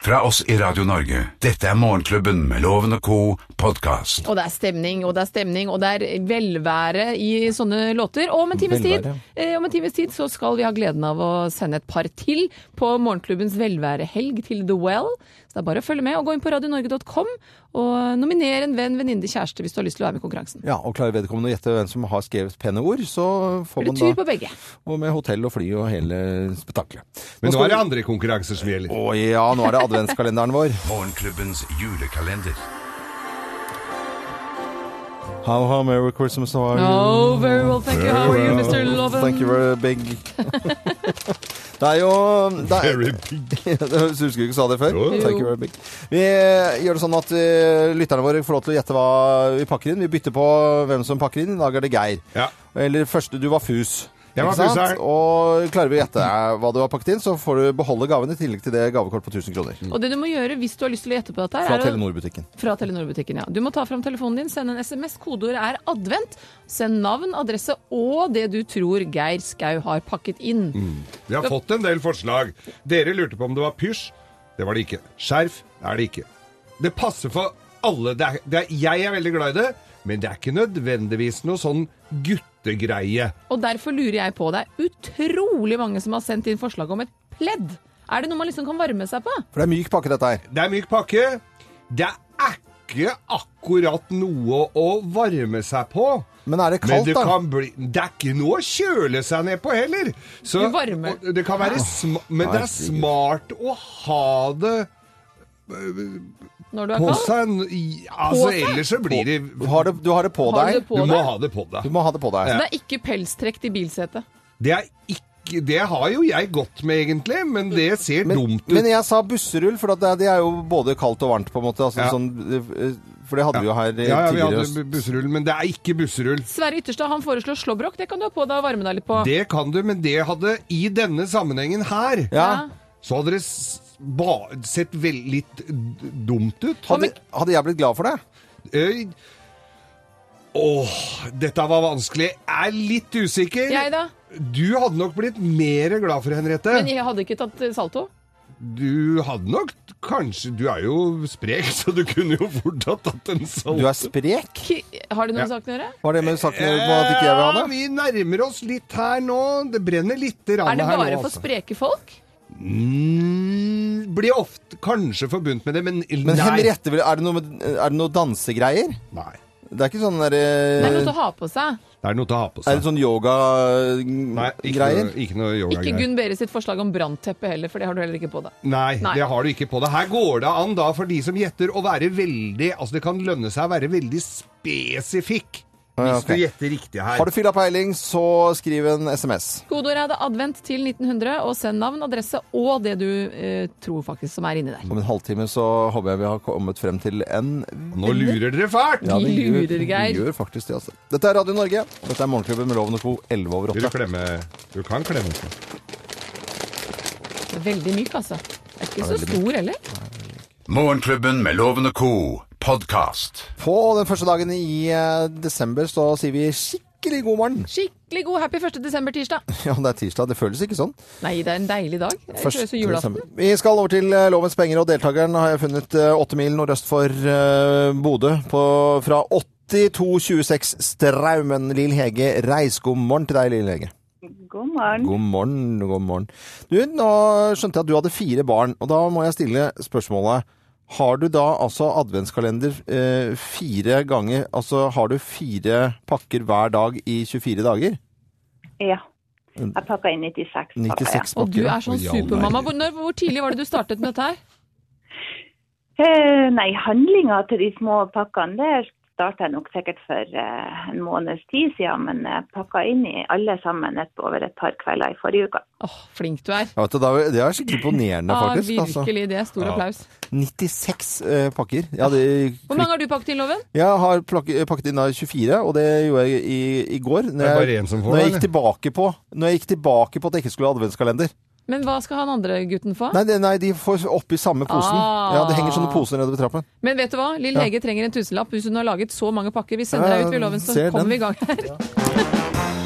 Speaker 2: Fra oss i Radio Norge, dette er Morgenklubben med Loven og Co. podkast.
Speaker 4: Og det er stemning, og det er stemning, og det er velvære i sånne låter. Og om en times tid,
Speaker 3: Velvære.
Speaker 4: eh, om en times tid så skal vi ha gleden av å sende et par til på morgenklubbens velværehelg til The Well. Så det er bare å følge med og gå inn på radionorge.com og nominere en venn, venninne, kjæreste hvis du har lyst til å være med i konkurransen.
Speaker 3: Ja, og klarer vedkommende å gjette hvem som har skrevet pene ord, så får
Speaker 4: Blir
Speaker 3: man
Speaker 4: det
Speaker 3: da
Speaker 4: tur på begge.
Speaker 3: Og med hotell og fly og hele spetakkelet.
Speaker 5: Men nå
Speaker 3: skal
Speaker 5: er det
Speaker 3: vi-
Speaker 5: andre konkurranser som gjelder.
Speaker 3: Å ja, nå er det adventskalenderen vår.
Speaker 2: Morgenklubbens julekalender.
Speaker 3: How, how merry Christmas are you?
Speaker 4: Oh, very well, thank you. How are you, Mr. Loven?
Speaker 3: Thank you very big. det er jo det er,
Speaker 5: Very big.
Speaker 3: Husker du ikke sa det før?
Speaker 5: Jo.
Speaker 3: Thank you very big. Vi gjør det sånn at eh, lytterne våre får lov til å gjette hva vi pakker inn. Vi bytter på hvem som pakker inn. I dag er det Geir.
Speaker 5: Ja.
Speaker 3: Eller første, du var fus.
Speaker 5: Jeg var
Speaker 3: Ikke sant?
Speaker 5: fuseren.
Speaker 3: Og klarer vi å gjette eh, hva du har pakket inn, så får du beholde gaven i tillegg til det gavekort på 1000 kroner.
Speaker 4: Og det du må gjøre hvis du har lyst til å gjette på dette, her,
Speaker 3: Mm. Fra
Speaker 4: Mm. er å
Speaker 3: Telenor-butikken.
Speaker 4: Fra Telenor-butikken, ja. Du må ta fram telefonen din, sende en SMS. Kodeordet er advent. Send navn, adresse og det du tror Geir Skau har pakket inn.
Speaker 5: Vi har fått en del forslag. Dere lurte på om det var pysj. Det var det ikke. Skjerf er det ikke. Det passer for alle. Det er, det er, jeg er veldig glad i det, men det er ikke nødvendigvis noe sånn guttegreie.
Speaker 4: Og derfor lurer jeg på, det er utrolig mange som har sendt inn forslag om et pledd. Er det noe man liksom kan varme seg på?
Speaker 3: For det er myk pakke, dette her.
Speaker 5: Det er myk pakke. Det er ikke akkurat noe å varme seg på.
Speaker 3: Men er det
Speaker 5: Men
Speaker 3: kaldt,
Speaker 5: det
Speaker 3: da?
Speaker 5: kan bli Det er ikke noe å kjøle seg ned på heller. Så,
Speaker 4: Du varmer.
Speaker 5: og Det kan være sma, men det er smart å ha det
Speaker 4: Når du er
Speaker 5: på
Speaker 4: kald?
Speaker 5: seg. n- i- Altså,
Speaker 4: På seg?
Speaker 5: ellers så blir det
Speaker 3: Du har det, du har det på
Speaker 4: Har du
Speaker 3: deg.
Speaker 4: det på
Speaker 5: Du må
Speaker 4: deg?
Speaker 5: ha det på
Speaker 3: Du
Speaker 5: deg.
Speaker 3: må ha det på deg.
Speaker 4: Det er ikke pelstrekk til bilsetet.
Speaker 5: Det er ikke Det har jo jeg godt med, egentlig, men det ser dumt ut.
Speaker 3: Men jeg sa busserull, for at det, det er jo både kaldt og varmt, på en måte. Altså,
Speaker 5: Ja.
Speaker 3: sånn, eh, for det hadde vi jo her eh,
Speaker 5: ja, ja, vi
Speaker 3: tidligere. i
Speaker 5: hadde
Speaker 3: høst.
Speaker 5: bu- busserull, men det er ikke busserull.
Speaker 4: Sverre Ytterstad han foreslår slåbrok. Det kan du ha på deg og varme deg litt på.
Speaker 5: Det kan du, men det hadde i denne sammenhengen her
Speaker 3: Ja.
Speaker 5: Så hadde det s- ba, sett vel, litt d- dumt ut.
Speaker 3: Hadde, hadde jeg blitt glad for det?
Speaker 5: Øy. Åh, dette var vanskelig. Jeg er litt usikker.
Speaker 4: Jeg da?
Speaker 5: Du hadde nok blitt mer glad for Henriette.
Speaker 4: Men jeg hadde ikke tatt eh, salto.
Speaker 5: Du hadde nok kanskje Du er jo sprek, så du kunne jo fort ha tatt en sånn-
Speaker 3: Du
Speaker 5: salt.
Speaker 3: er sprek?
Speaker 4: Ki- Har det noe med saken å gjøre?
Speaker 3: Var det med saken om at ikke jeg vil ha
Speaker 5: Ja,
Speaker 3: det?
Speaker 5: vi nærmer oss litt her nå. Det brenner lite grann
Speaker 4: Er det
Speaker 5: her nå. altså.
Speaker 4: bare for
Speaker 3: altså.
Speaker 4: spreke folk?
Speaker 5: Mm, blir ofte kanskje forbundt med det, men, nei.
Speaker 3: Men Henriette, vil- er det noe, med- er det noe dansegreier?
Speaker 5: nei.
Speaker 3: Det er ikke sånn der,
Speaker 4: Det er noe
Speaker 3: eh,
Speaker 4: til å ha på seg.
Speaker 5: Det er noe til å ha på
Speaker 3: Er
Speaker 5: seg.
Speaker 3: det sånn
Speaker 5: Nei, ikke
Speaker 3: yoga-greier?
Speaker 5: noe, ikke noe
Speaker 4: Ikke
Speaker 5: yoga-greier.
Speaker 4: Gunn Bere sitt forslag om brannteppe heller, for det har du heller ikke på deg.
Speaker 5: Nei,
Speaker 4: Nei.
Speaker 5: det har du ikke på det. Her går det an da for de som gjetter å være veldig Altså det kan lønne seg å være veldig spesifikk hvis
Speaker 3: Ja, Ah, ok.
Speaker 5: du gjetter riktig her.
Speaker 3: Har du fylla peiling, så skriv en SMS.
Speaker 4: Kodeordet er det advent til 1900, og send navn, adresse og det du eh, tror faktisk som er inni der.
Speaker 3: Om en halvtime så håper jeg vi har kommet frem til en
Speaker 5: Nå lurer dere fælt!
Speaker 3: Ja,
Speaker 4: Vi
Speaker 3: det gjør-
Speaker 4: lurer, Geir.
Speaker 3: Vi gjør faktisk det, altså. Dette er Radio Norge. og Dette er Morgenklubben med Loven og Co. 11 over
Speaker 5: Vil du
Speaker 3: 8.
Speaker 5: klemme Du kan klemme.
Speaker 4: Veldig myk, altså. Det er ikke så stor heller.
Speaker 2: Morgenklubben med Loven og Co. podkast.
Speaker 3: På den første dagen i eh, desember så sier vi skikkelig skikkelig god morgen.
Speaker 4: Skikkelig god happy 1. desember-tirsdag.
Speaker 3: Ja, det er tirsdag. Det føles ikke sånn.
Speaker 4: Nei, det er en deilig dag. Det føles som julaften.
Speaker 3: desember. Vi skal over til eh, Lovens penger, og deltakeren har jeg funnet eh, åtte mil nordøst for eh, Bodø. på- Fra 8226 Straumen. Lill Hege Reis, god morgen til deg, Lill Hege.
Speaker 6: God morgen.
Speaker 3: God morgen, god morgen. Du, nå skjønte jeg at du hadde fire barn, og da må jeg stille spørsmålet. Har du da altså adventskalender eh, fire ganger, altså har du fire pakker hver dag i 24 dager?
Speaker 6: Ja. Jeg pakka inn 96. pakka jeg.
Speaker 3: 96
Speaker 4: Og du
Speaker 3: pakker.
Speaker 4: er sånn
Speaker 5: Å, ja, nei.
Speaker 4: supermamma. Hvor, når, hvor tidlig var det du startet med dette her?
Speaker 6: Eh, nei, handlinga til de små pakkene det starta jeg nok sikkert for eh, en måneds tid siden, men jeg pakka inn i alle sammen et, over et par kvelder i forrige uke.
Speaker 4: Åh, flink du er.
Speaker 3: Ja, vet du, da- det er skikkelig imponerende,
Speaker 4: Ja,
Speaker 3: faktisk. altså.
Speaker 4: virkelig. Det er stor applaus.
Speaker 3: 96 eh, pakker. Ja, det,
Speaker 4: Ah. Hvor mange har du pakket inn, Loven?
Speaker 3: jeg har plak pakket inn da 24, og det gjorde jeg i, i går. Når
Speaker 5: Det er
Speaker 3: jeg,
Speaker 5: bare én som får
Speaker 3: når, jeg
Speaker 5: det,
Speaker 3: gikk tilbake på, når jeg gikk tilbake på at jeg ikke skulle ha adventskalender.
Speaker 4: Men hva skal han andre gutten få?
Speaker 3: Nei, det- nei, de får oppi samme posen.
Speaker 4: Ah.
Speaker 3: Ja, Det henger sånne poser nedover trappen.
Speaker 4: Men vet du hva? Lill
Speaker 3: Ja.
Speaker 4: Hege trenger en tusenlapp hvis hun har laget så mange pakker. Vi
Speaker 3: Ja,
Speaker 4: sender deg ut, vi,
Speaker 3: jeg
Speaker 4: Loven, så
Speaker 3: ser
Speaker 4: kommer
Speaker 3: den.
Speaker 4: vi i gang her.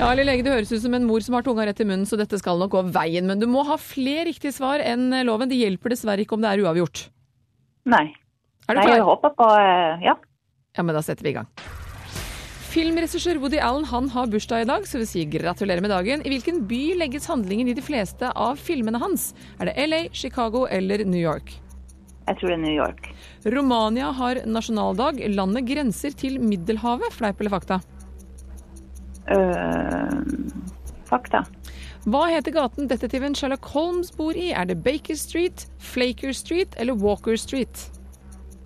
Speaker 4: Ja, Lill Hege, Det høres ut som en mor som har tunga rett i munnen, så dette skal nok gå veien. Men du må ha flere riktige svar enn eh, loven. Det hjelper dessverre ikke om det er uavgjort.
Speaker 6: Nei.
Speaker 4: Er du
Speaker 6: nei jeg
Speaker 4: klar?
Speaker 6: håper på eh, Ja.
Speaker 4: Ja, men da setter vi i gang. Filmregissør Woody Allen han har bursdag i dag, så vi sier gratulerer med dagen. I hvilken by legges handlingen i de fleste av filmene hans? Er det LA, Chicago eller New York?
Speaker 6: Jeg tror det er New York.
Speaker 4: Romania har nasjonaldag. Landet grenser til Middelhavet, fleip eller fakta.
Speaker 6: Eh, fakta.
Speaker 4: Hva heter gaten detektiven Sherlock Holmes bor i? Er det Baker Street, Flaker Street eller Walker Street?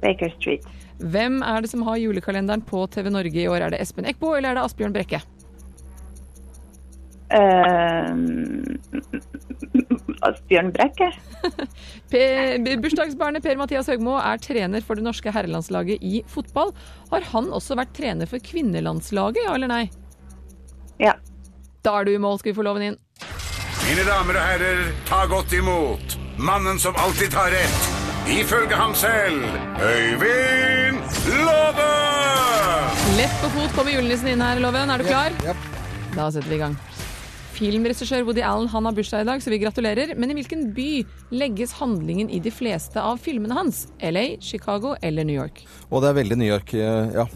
Speaker 6: Baker Street.
Speaker 4: Hvem er det som har julekalenderen på TV Norge i år? Er det Espen Eckbo eller er det Asbjørn Brekke?
Speaker 6: Eh, Asbjørn Brekke.
Speaker 4: Per, bursdagsbarnet Per-Mathias Høgmo er trener for det norske herrelandslaget i fotball. Har han også vært trener for kvinnelandslaget, ja eller nei?
Speaker 6: Ja.
Speaker 4: Da er du i mål, skal vi få loven inn.
Speaker 2: Mine damer og herrer, ta godt imot mannen som alltid tar rett. Ifølge ham selv Øyvind Låve!
Speaker 4: Lett på fot kommer julenissen inn her, Loven. Er du klar? Da setter vi i gang. Filmregissør Woody Allen han har bursdag i dag, så vi gratulerer. Men i hvilken by legges handlingen i de fleste av filmene hans? LA, Chicago eller New York?
Speaker 3: Og det er veldig New York. eh, Ja.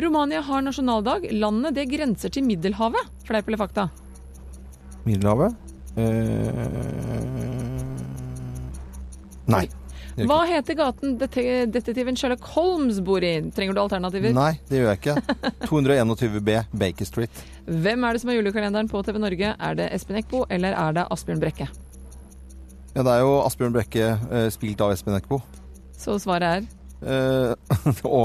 Speaker 4: Romania har nasjonaldag. Landet det grenser til Middelhavet. Fleip eller fakta?
Speaker 3: Middelhavet. Eh, Nei.
Speaker 4: Hva heter gaten dete- detektiven Sherlock Holmes bor i? Trenger du alternativer?
Speaker 3: Nei, det gjør jeg ikke. 221 B, Baker Street.
Speaker 4: Hvem er det som har julekalenderen på TV Norge? Er det Espen Eckbo, eller er det Asbjørn Brekke?
Speaker 3: Ja, det er jo Asbjørn Brekke, eh, spilt av Espen Eckbo.
Speaker 4: Så svaret er
Speaker 3: Eh, å,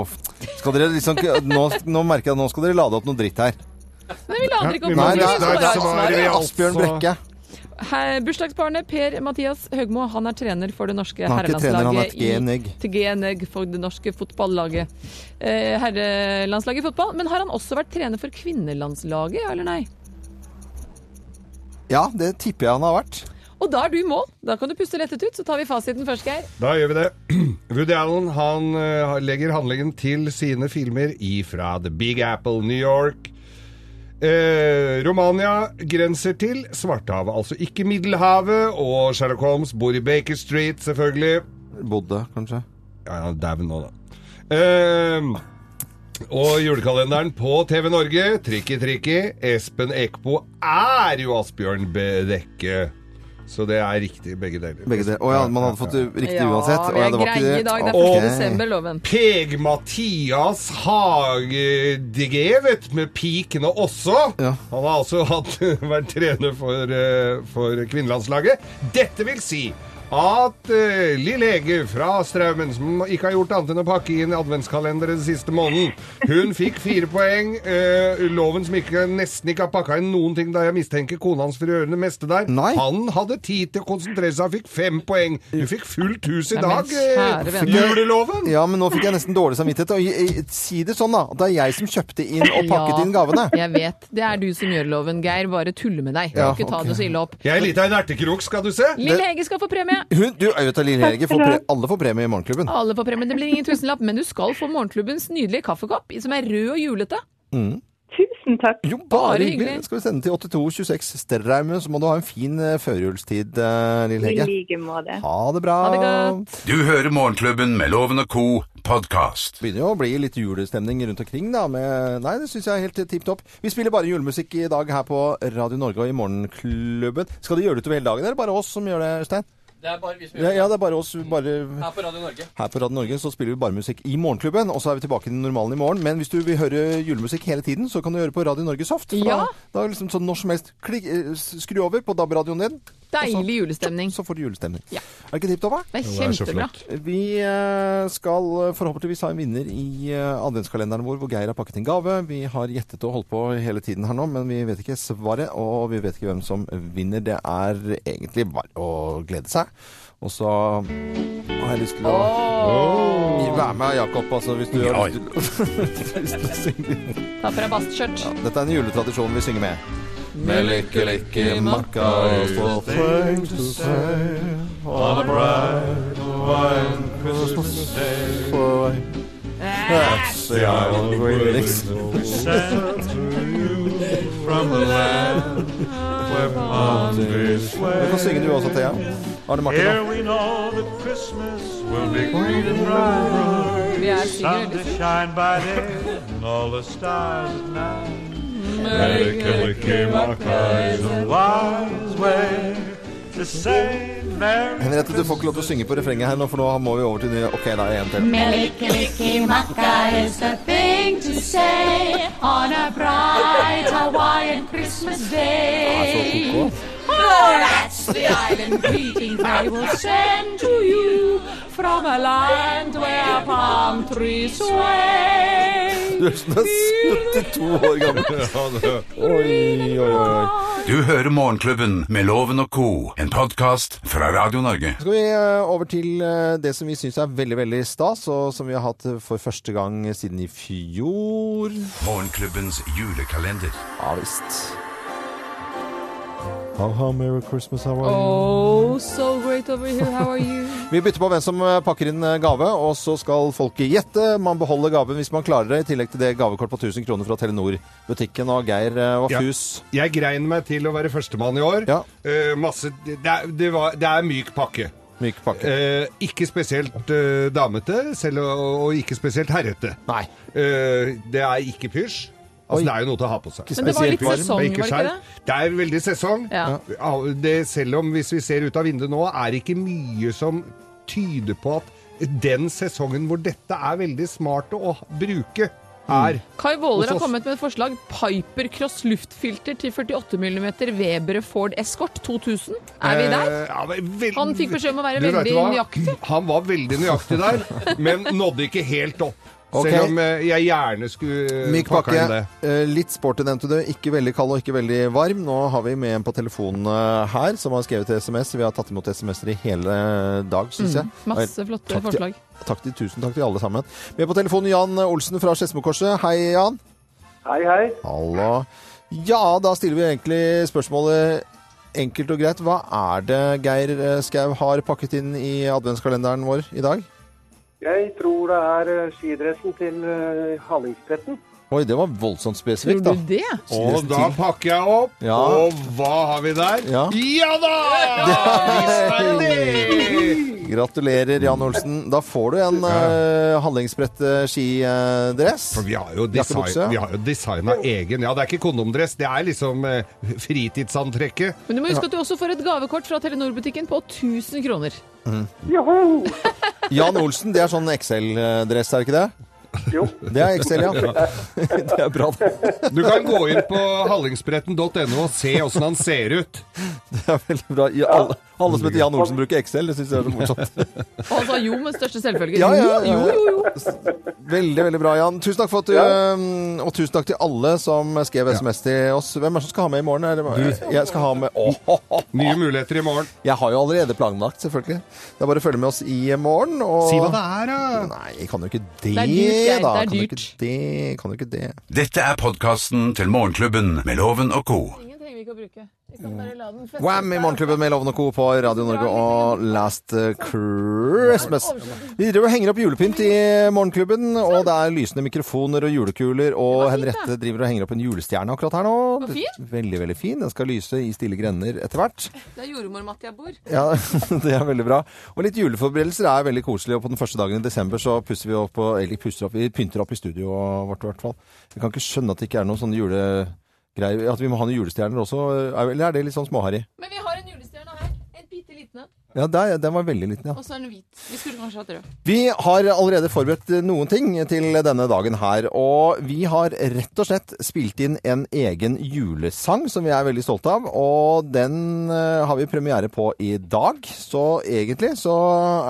Speaker 3: skal dere liksom ikke- nå, nå merker jeg at nå skal dere lade opp noe dritt her.
Speaker 4: Nei, vi lader ikke
Speaker 5: vi
Speaker 4: opp.
Speaker 5: må-
Speaker 3: Nei,
Speaker 4: Nei,
Speaker 3: det er,
Speaker 5: det er
Speaker 3: det er
Speaker 5: svaret, ja.
Speaker 3: Asbjørn Brekke.
Speaker 4: Her- Bursdagsbarnet Per Mathias Høgmo han er trener for det norske
Speaker 3: Han er ikke trener, han er
Speaker 4: herrelandslaget
Speaker 3: et genegg.
Speaker 4: i Genegg for det norske fotballaget. Eh, herrelandslaget i fotball. Men har han også vært trener for kvinnelandslaget, ja eller nei?
Speaker 3: Ja, det tipper jeg han har vært.
Speaker 4: Og da er du i mål. Da kan du puste lettet ut, så tar vi fasiten først, Geir.
Speaker 5: Da gjør vi det. Woody Allen han eh, legger handlingen til sine filmer ifra The Big Apple, New York. Eh, Romania grenser til Svartehavet, altså ikke Middelhavet. Og Sherlock Holmes bor i Baker Street, selvfølgelig.
Speaker 3: Bodde, kanskje.
Speaker 5: Ja, han er daud nå, da. Eh, og julekalenderen på TV Norge, Trikki Trikki, Espen Eckbo er jo Asbjørn Brekke. Så det er riktig, begge deler.
Speaker 3: Begge deler. Å ja, man hadde fått det riktig uansett. Å,
Speaker 4: vi
Speaker 3: ja,
Speaker 4: er
Speaker 3: det var ikke
Speaker 4: greie
Speaker 3: det.
Speaker 4: i dag. Det er 1.
Speaker 5: Ok.
Speaker 4: desember, loven.
Speaker 5: Peg-Mathias Hagedegevet eh, med pikene også.
Speaker 3: Ja.
Speaker 5: Han har altså hatt, vært trener for, eh, for kvinnelandslaget. Dette vil si at uh, Lill Hege fra Straumen, som ikke har gjort annet enn å pakke inn adventskalenderen den siste måneden, hun fikk fire poeng. eh, loven som ikke, nesten ikke har pakka inn noen ting, da jeg mistenker kona hans for å gjøre det meste der.
Speaker 3: Nei.
Speaker 5: Han hadde tid til å konsentrere seg og fikk fem poeng. Du fikk fullt hus i
Speaker 4: Nei, men
Speaker 5: dag, eh,
Speaker 4: kjære vene.
Speaker 5: juleloven.
Speaker 3: Ja, men nå fikk jeg nesten dårlig samvittighet. Og jeg- jeg- si det sånn, da. at Det er jeg som kjøpte inn og pakket
Speaker 4: Ja.
Speaker 3: inn gavene.
Speaker 4: Jeg vet. Det er du som gjør loven, Geir. Bare tulle med deg.
Speaker 3: Ja,
Speaker 4: ikke ta
Speaker 3: ok.
Speaker 4: det så ille opp.
Speaker 5: Jeg er litt av en ertekrok, skal du se.
Speaker 4: Lille Hege skal få premie.
Speaker 3: Hun, du, Øyvind og Lille Helge, får pre alle får premie i Morgenklubben.
Speaker 4: Alle får premie. Det blir ingen tusenlapp, men du skal få morgenklubbens nydelige kaffekopp, som er rød og julete.
Speaker 6: Tusen takk.
Speaker 3: Jo,
Speaker 4: Bare
Speaker 3: bare
Speaker 4: hyggelig.
Speaker 3: hyggelig. Skal vi sende til 8226 Sterreimen, så må du ha en fin eh, førjulstid, eh, Lille
Speaker 6: I
Speaker 3: Helge.
Speaker 6: like måte.
Speaker 3: Ha det bra.
Speaker 4: Ha det godt.
Speaker 2: Du hører Morgenklubben med Loven og Co. podkast.
Speaker 3: Begynner jo å bli litt julestemning rundt omkring, da. Med Nei, det syns jeg er helt tipp topp. Vi spiller bare julemusikk i dag her på Radio Norge og i Morgenklubben. Skal de gjøre det utover hele dagen, eller bare oss som gjør det, Øystein?
Speaker 9: Det er bare vi som
Speaker 3: Ja,
Speaker 9: gjør det.
Speaker 3: ja, det er bare oss. Bare
Speaker 9: Her på Radio Norge.
Speaker 3: Her på Radio Norge så spiller vi bare musikk i Morgenklubben, og så er vi tilbake til normalen i morgen. Men hvis du vil høre julemusikk hele tiden, så kan du høre på Radio Norge Soft. for
Speaker 4: Ja.
Speaker 3: Da, da er det liksom sånn når som helst klikk, eh, skru over på DAB-radioen din,
Speaker 4: Deilig julestemning.
Speaker 3: så får du julestemning.
Speaker 4: Ja.
Speaker 3: Er det ikke tipp topp, da?
Speaker 4: Det
Speaker 5: Det
Speaker 4: er
Speaker 5: er så
Speaker 4: kjempebra.
Speaker 5: flott.
Speaker 3: Vi eh, skal forhåpentligvis ha en vinner i eh, adventskalenderen vår hvor Geir har pakket en gave. Vi har gjettet og holdt på hele tiden her nå, men vi vet ikke svaret, og vi vet ikke hvem som vinner. Det er egentlig bare å glede seg. Og så har jeg lyst til å Vær med, Jakob, altså, hvis du har lyst til, hvis du synger.
Speaker 4: Ta på deg bastskjørt.
Speaker 3: Dette er en juletradisjon vi synger med. Med lykke, lykke, makka og things to say on a bright white Christmas day. That's the island we live sent to you from the land where mountains sway. Du kan synge du også, Thea. Arne Martin, da.
Speaker 10: we know that Christmas will be green and bright.
Speaker 4: Vi er Sigurd
Speaker 10: to
Speaker 4: Ellefsen.
Speaker 10: shine by day and all the stars at night. Wise way to say merry
Speaker 3: Henriette, du får ikke lov til å synge på refrenget her nå, for nå må vi over til det. Ok, da, en til.
Speaker 1: Melikilikimaka is the thing to say on a bright Hawaiian Christmas day. Oh, that's the island greeting they will send to you from a land where palm trees sway.
Speaker 3: Du er sånn 72 år gammel.
Speaker 5: Ja, det-
Speaker 3: Oi, oi, oi.
Speaker 2: Du hører Morgenklubben med Loven og Co., en podkast fra Radio Norge.
Speaker 3: skal vi eh, over til eh, det som vi syns er veldig veldig stas, og som vi har hatt eh, for første gang siden i fjor.
Speaker 2: Morgenklubbens julekalender.
Speaker 3: Ja visst. How, how merry Christmas, how are you?
Speaker 4: Oh, so great over here, how are you?
Speaker 3: Vi bytter på hvem som eh, pakker inn eh, gave, og så skal folket gjette. Man beholder gaven hvis man klarer det, i tillegg til det gavekort på 1000 kroner fra Telenor-butikken. Og Geir eh, var
Speaker 5: Ja.
Speaker 3: fus.
Speaker 5: Jeg grein meg til å være førstemann i år.
Speaker 3: Ja.
Speaker 5: Eh, masse, det, er, det, var, det er myk pakke.
Speaker 3: Myk pakke.
Speaker 5: Eh, ikke spesielt eh, damete, selv, og, og ikke spesielt herrete.
Speaker 3: Nei.
Speaker 5: Eh, det er ikke pysj. Altså,
Speaker 3: Oi.
Speaker 5: det er jo noe til å ha på seg.
Speaker 4: Men det var litt
Speaker 3: Spesielt varm,
Speaker 4: sesong, var det ikke
Speaker 5: skjerf.
Speaker 4: det?
Speaker 5: Det er veldig sesong.
Speaker 4: Ja.
Speaker 5: Al- Det, selv om, hvis vi ser ut av vinduet nå, er det ikke mye som tyder på at den sesongen hvor dette er veldig smart å bruke,
Speaker 3: Mm.
Speaker 5: er
Speaker 4: Kai Våler
Speaker 5: Hos
Speaker 4: har
Speaker 5: oss.
Speaker 4: kommet med et forslag. Pipercross luftfilter til 48 mm Weber Ford Escort 2000. Er vi der?
Speaker 5: Eh, ja, men vel-
Speaker 4: Han fikk beskjed om å være
Speaker 5: Du vet
Speaker 4: veldig
Speaker 5: hva?
Speaker 4: nøyaktig.
Speaker 5: Han var veldig nøyaktig der, men nådde ikke helt opp.
Speaker 3: Ok.
Speaker 5: Selv om eh, jeg gjerne skulle eh,
Speaker 3: Myk
Speaker 5: pakka inn
Speaker 3: pakke.
Speaker 5: det.
Speaker 3: Eh, Litt sporty nevnte du. Ikke veldig kald og ikke veldig varm. Nå har vi med en på telefonen eh, her som har skrevet SMS. Vi har tatt imot SMS-er i hele dag, syns jeg.
Speaker 4: Masse flotte
Speaker 3: Takk til-
Speaker 4: forslag.
Speaker 3: Takk til, tusen takk til alle sammen. Med på telefonen Jan Olsen fra Skedsmokorset. Hei, Jan.
Speaker 11: Hei, hei.
Speaker 3: Hallo. Ja, da stiller vi egentlig spørsmålet enkelt og greit. Hva er det Geir eh, Skau har pakket inn i adventskalenderen vår i dag?
Speaker 11: Jeg tror det er eh, skidressen til eh, Hallingsbretten.
Speaker 3: Oi, det var voldsomt
Speaker 4: Tror
Speaker 3: spesifikt,
Speaker 4: du
Speaker 3: da.
Speaker 4: det?
Speaker 5: Og da pakker jeg opp,
Speaker 3: Ja.
Speaker 5: og hva har vi der?
Speaker 3: Ja.
Speaker 5: da! Ja, det!
Speaker 3: Gratulerer, Jan Olsen. Da får du en uh, handlingsbrett-skidress.
Speaker 5: For vi har jo
Speaker 3: Jakkebukse?
Speaker 5: design- vi har jo designa egen Ja, det er ikke kondomdress, det er liksom eh, fritidsantrekket.
Speaker 4: Men du må huske at du også får et gavekort fra Telenor-butikken på 1000 kroner.
Speaker 11: Joho!
Speaker 3: Jan Olsen, det er sånn XL-dress, er det ikke det?
Speaker 11: Jo.
Speaker 3: Det er XL, ja. Det er bra. Det
Speaker 5: Du kan gå inn på hallingsbretten.no og se åssen han ser ut.
Speaker 3: er veldig bra. Ja, alle, alle som heter Jan Olsen, bruker XL. Det syns jeg er så morsomt.
Speaker 4: Og han sa Altså, jo med største selvfølge.
Speaker 3: Ja, ja, ja.
Speaker 4: Jo, jo, jo.
Speaker 3: Veldig, veldig bra, Jan. Tusen takk for at du øhm, Og tusen takk til alle som skrev SMS til oss. Hvem er det som skal ha med i morgen? Er det, bare- jeg skal ha med Åh,
Speaker 5: Nye muligheter i morgen.
Speaker 3: Jeg har jo allerede planlagt, selvfølgelig. Det er bare å følge med oss i morgen. Og...
Speaker 5: Si hva det er, da!
Speaker 3: Nei, jeg kan jo ikke det,
Speaker 4: Det er dyrt, Geir.
Speaker 3: da.
Speaker 4: Det
Speaker 3: kan
Speaker 4: er
Speaker 3: jo
Speaker 4: dyrt.
Speaker 3: Ikke det. Kan jo ikke det.
Speaker 2: Dette er podkasten til Morgenklubben med Loven og Co.
Speaker 4: Ingenting trenger vi ikke å bruke. Vi kan bare la den feste
Speaker 3: Wham i
Speaker 4: seg.
Speaker 3: Morgenklubben med Lovende Co. på Radio Norge og Last Christmas. Vi driver og henger opp julepynt i Morgenklubben, og det er lysende mikrofoner og julekuler. Og
Speaker 4: Det var fint, da.
Speaker 3: Henriette driver og henger opp en julestjerne akkurat her nå.
Speaker 4: Var fin?
Speaker 3: Veldig, veldig fin. Den skal lyse i stille grender etter hvert.
Speaker 4: Det er jordmor-Mattia bor.
Speaker 3: Ja, det er veldig bra. Og litt juleforberedelser er veldig koselig, og på den første dagen i desember så pusser vi opp, og- eller pusser opp, vi pynter opp i studioet vårt i hvert fall. Vi kan ikke skjønne at det ikke er noen sånne julegreier, at vi må ha noen julestjerner også, eller er det litt sånn småharrig?
Speaker 4: Men vi har en julestjerne her. En bitte liten en.
Speaker 3: Ja, der, den var veldig liten, ja.
Speaker 4: Og så er den hvit. Vi skulle kanskje hatt rød.
Speaker 3: Vi har allerede forberedt noen ting til denne dagen her, og vi har rett og slett spilt inn en egen julesang som vi er veldig stolte av, og den eh, har vi premiere på i dag. Så egentlig så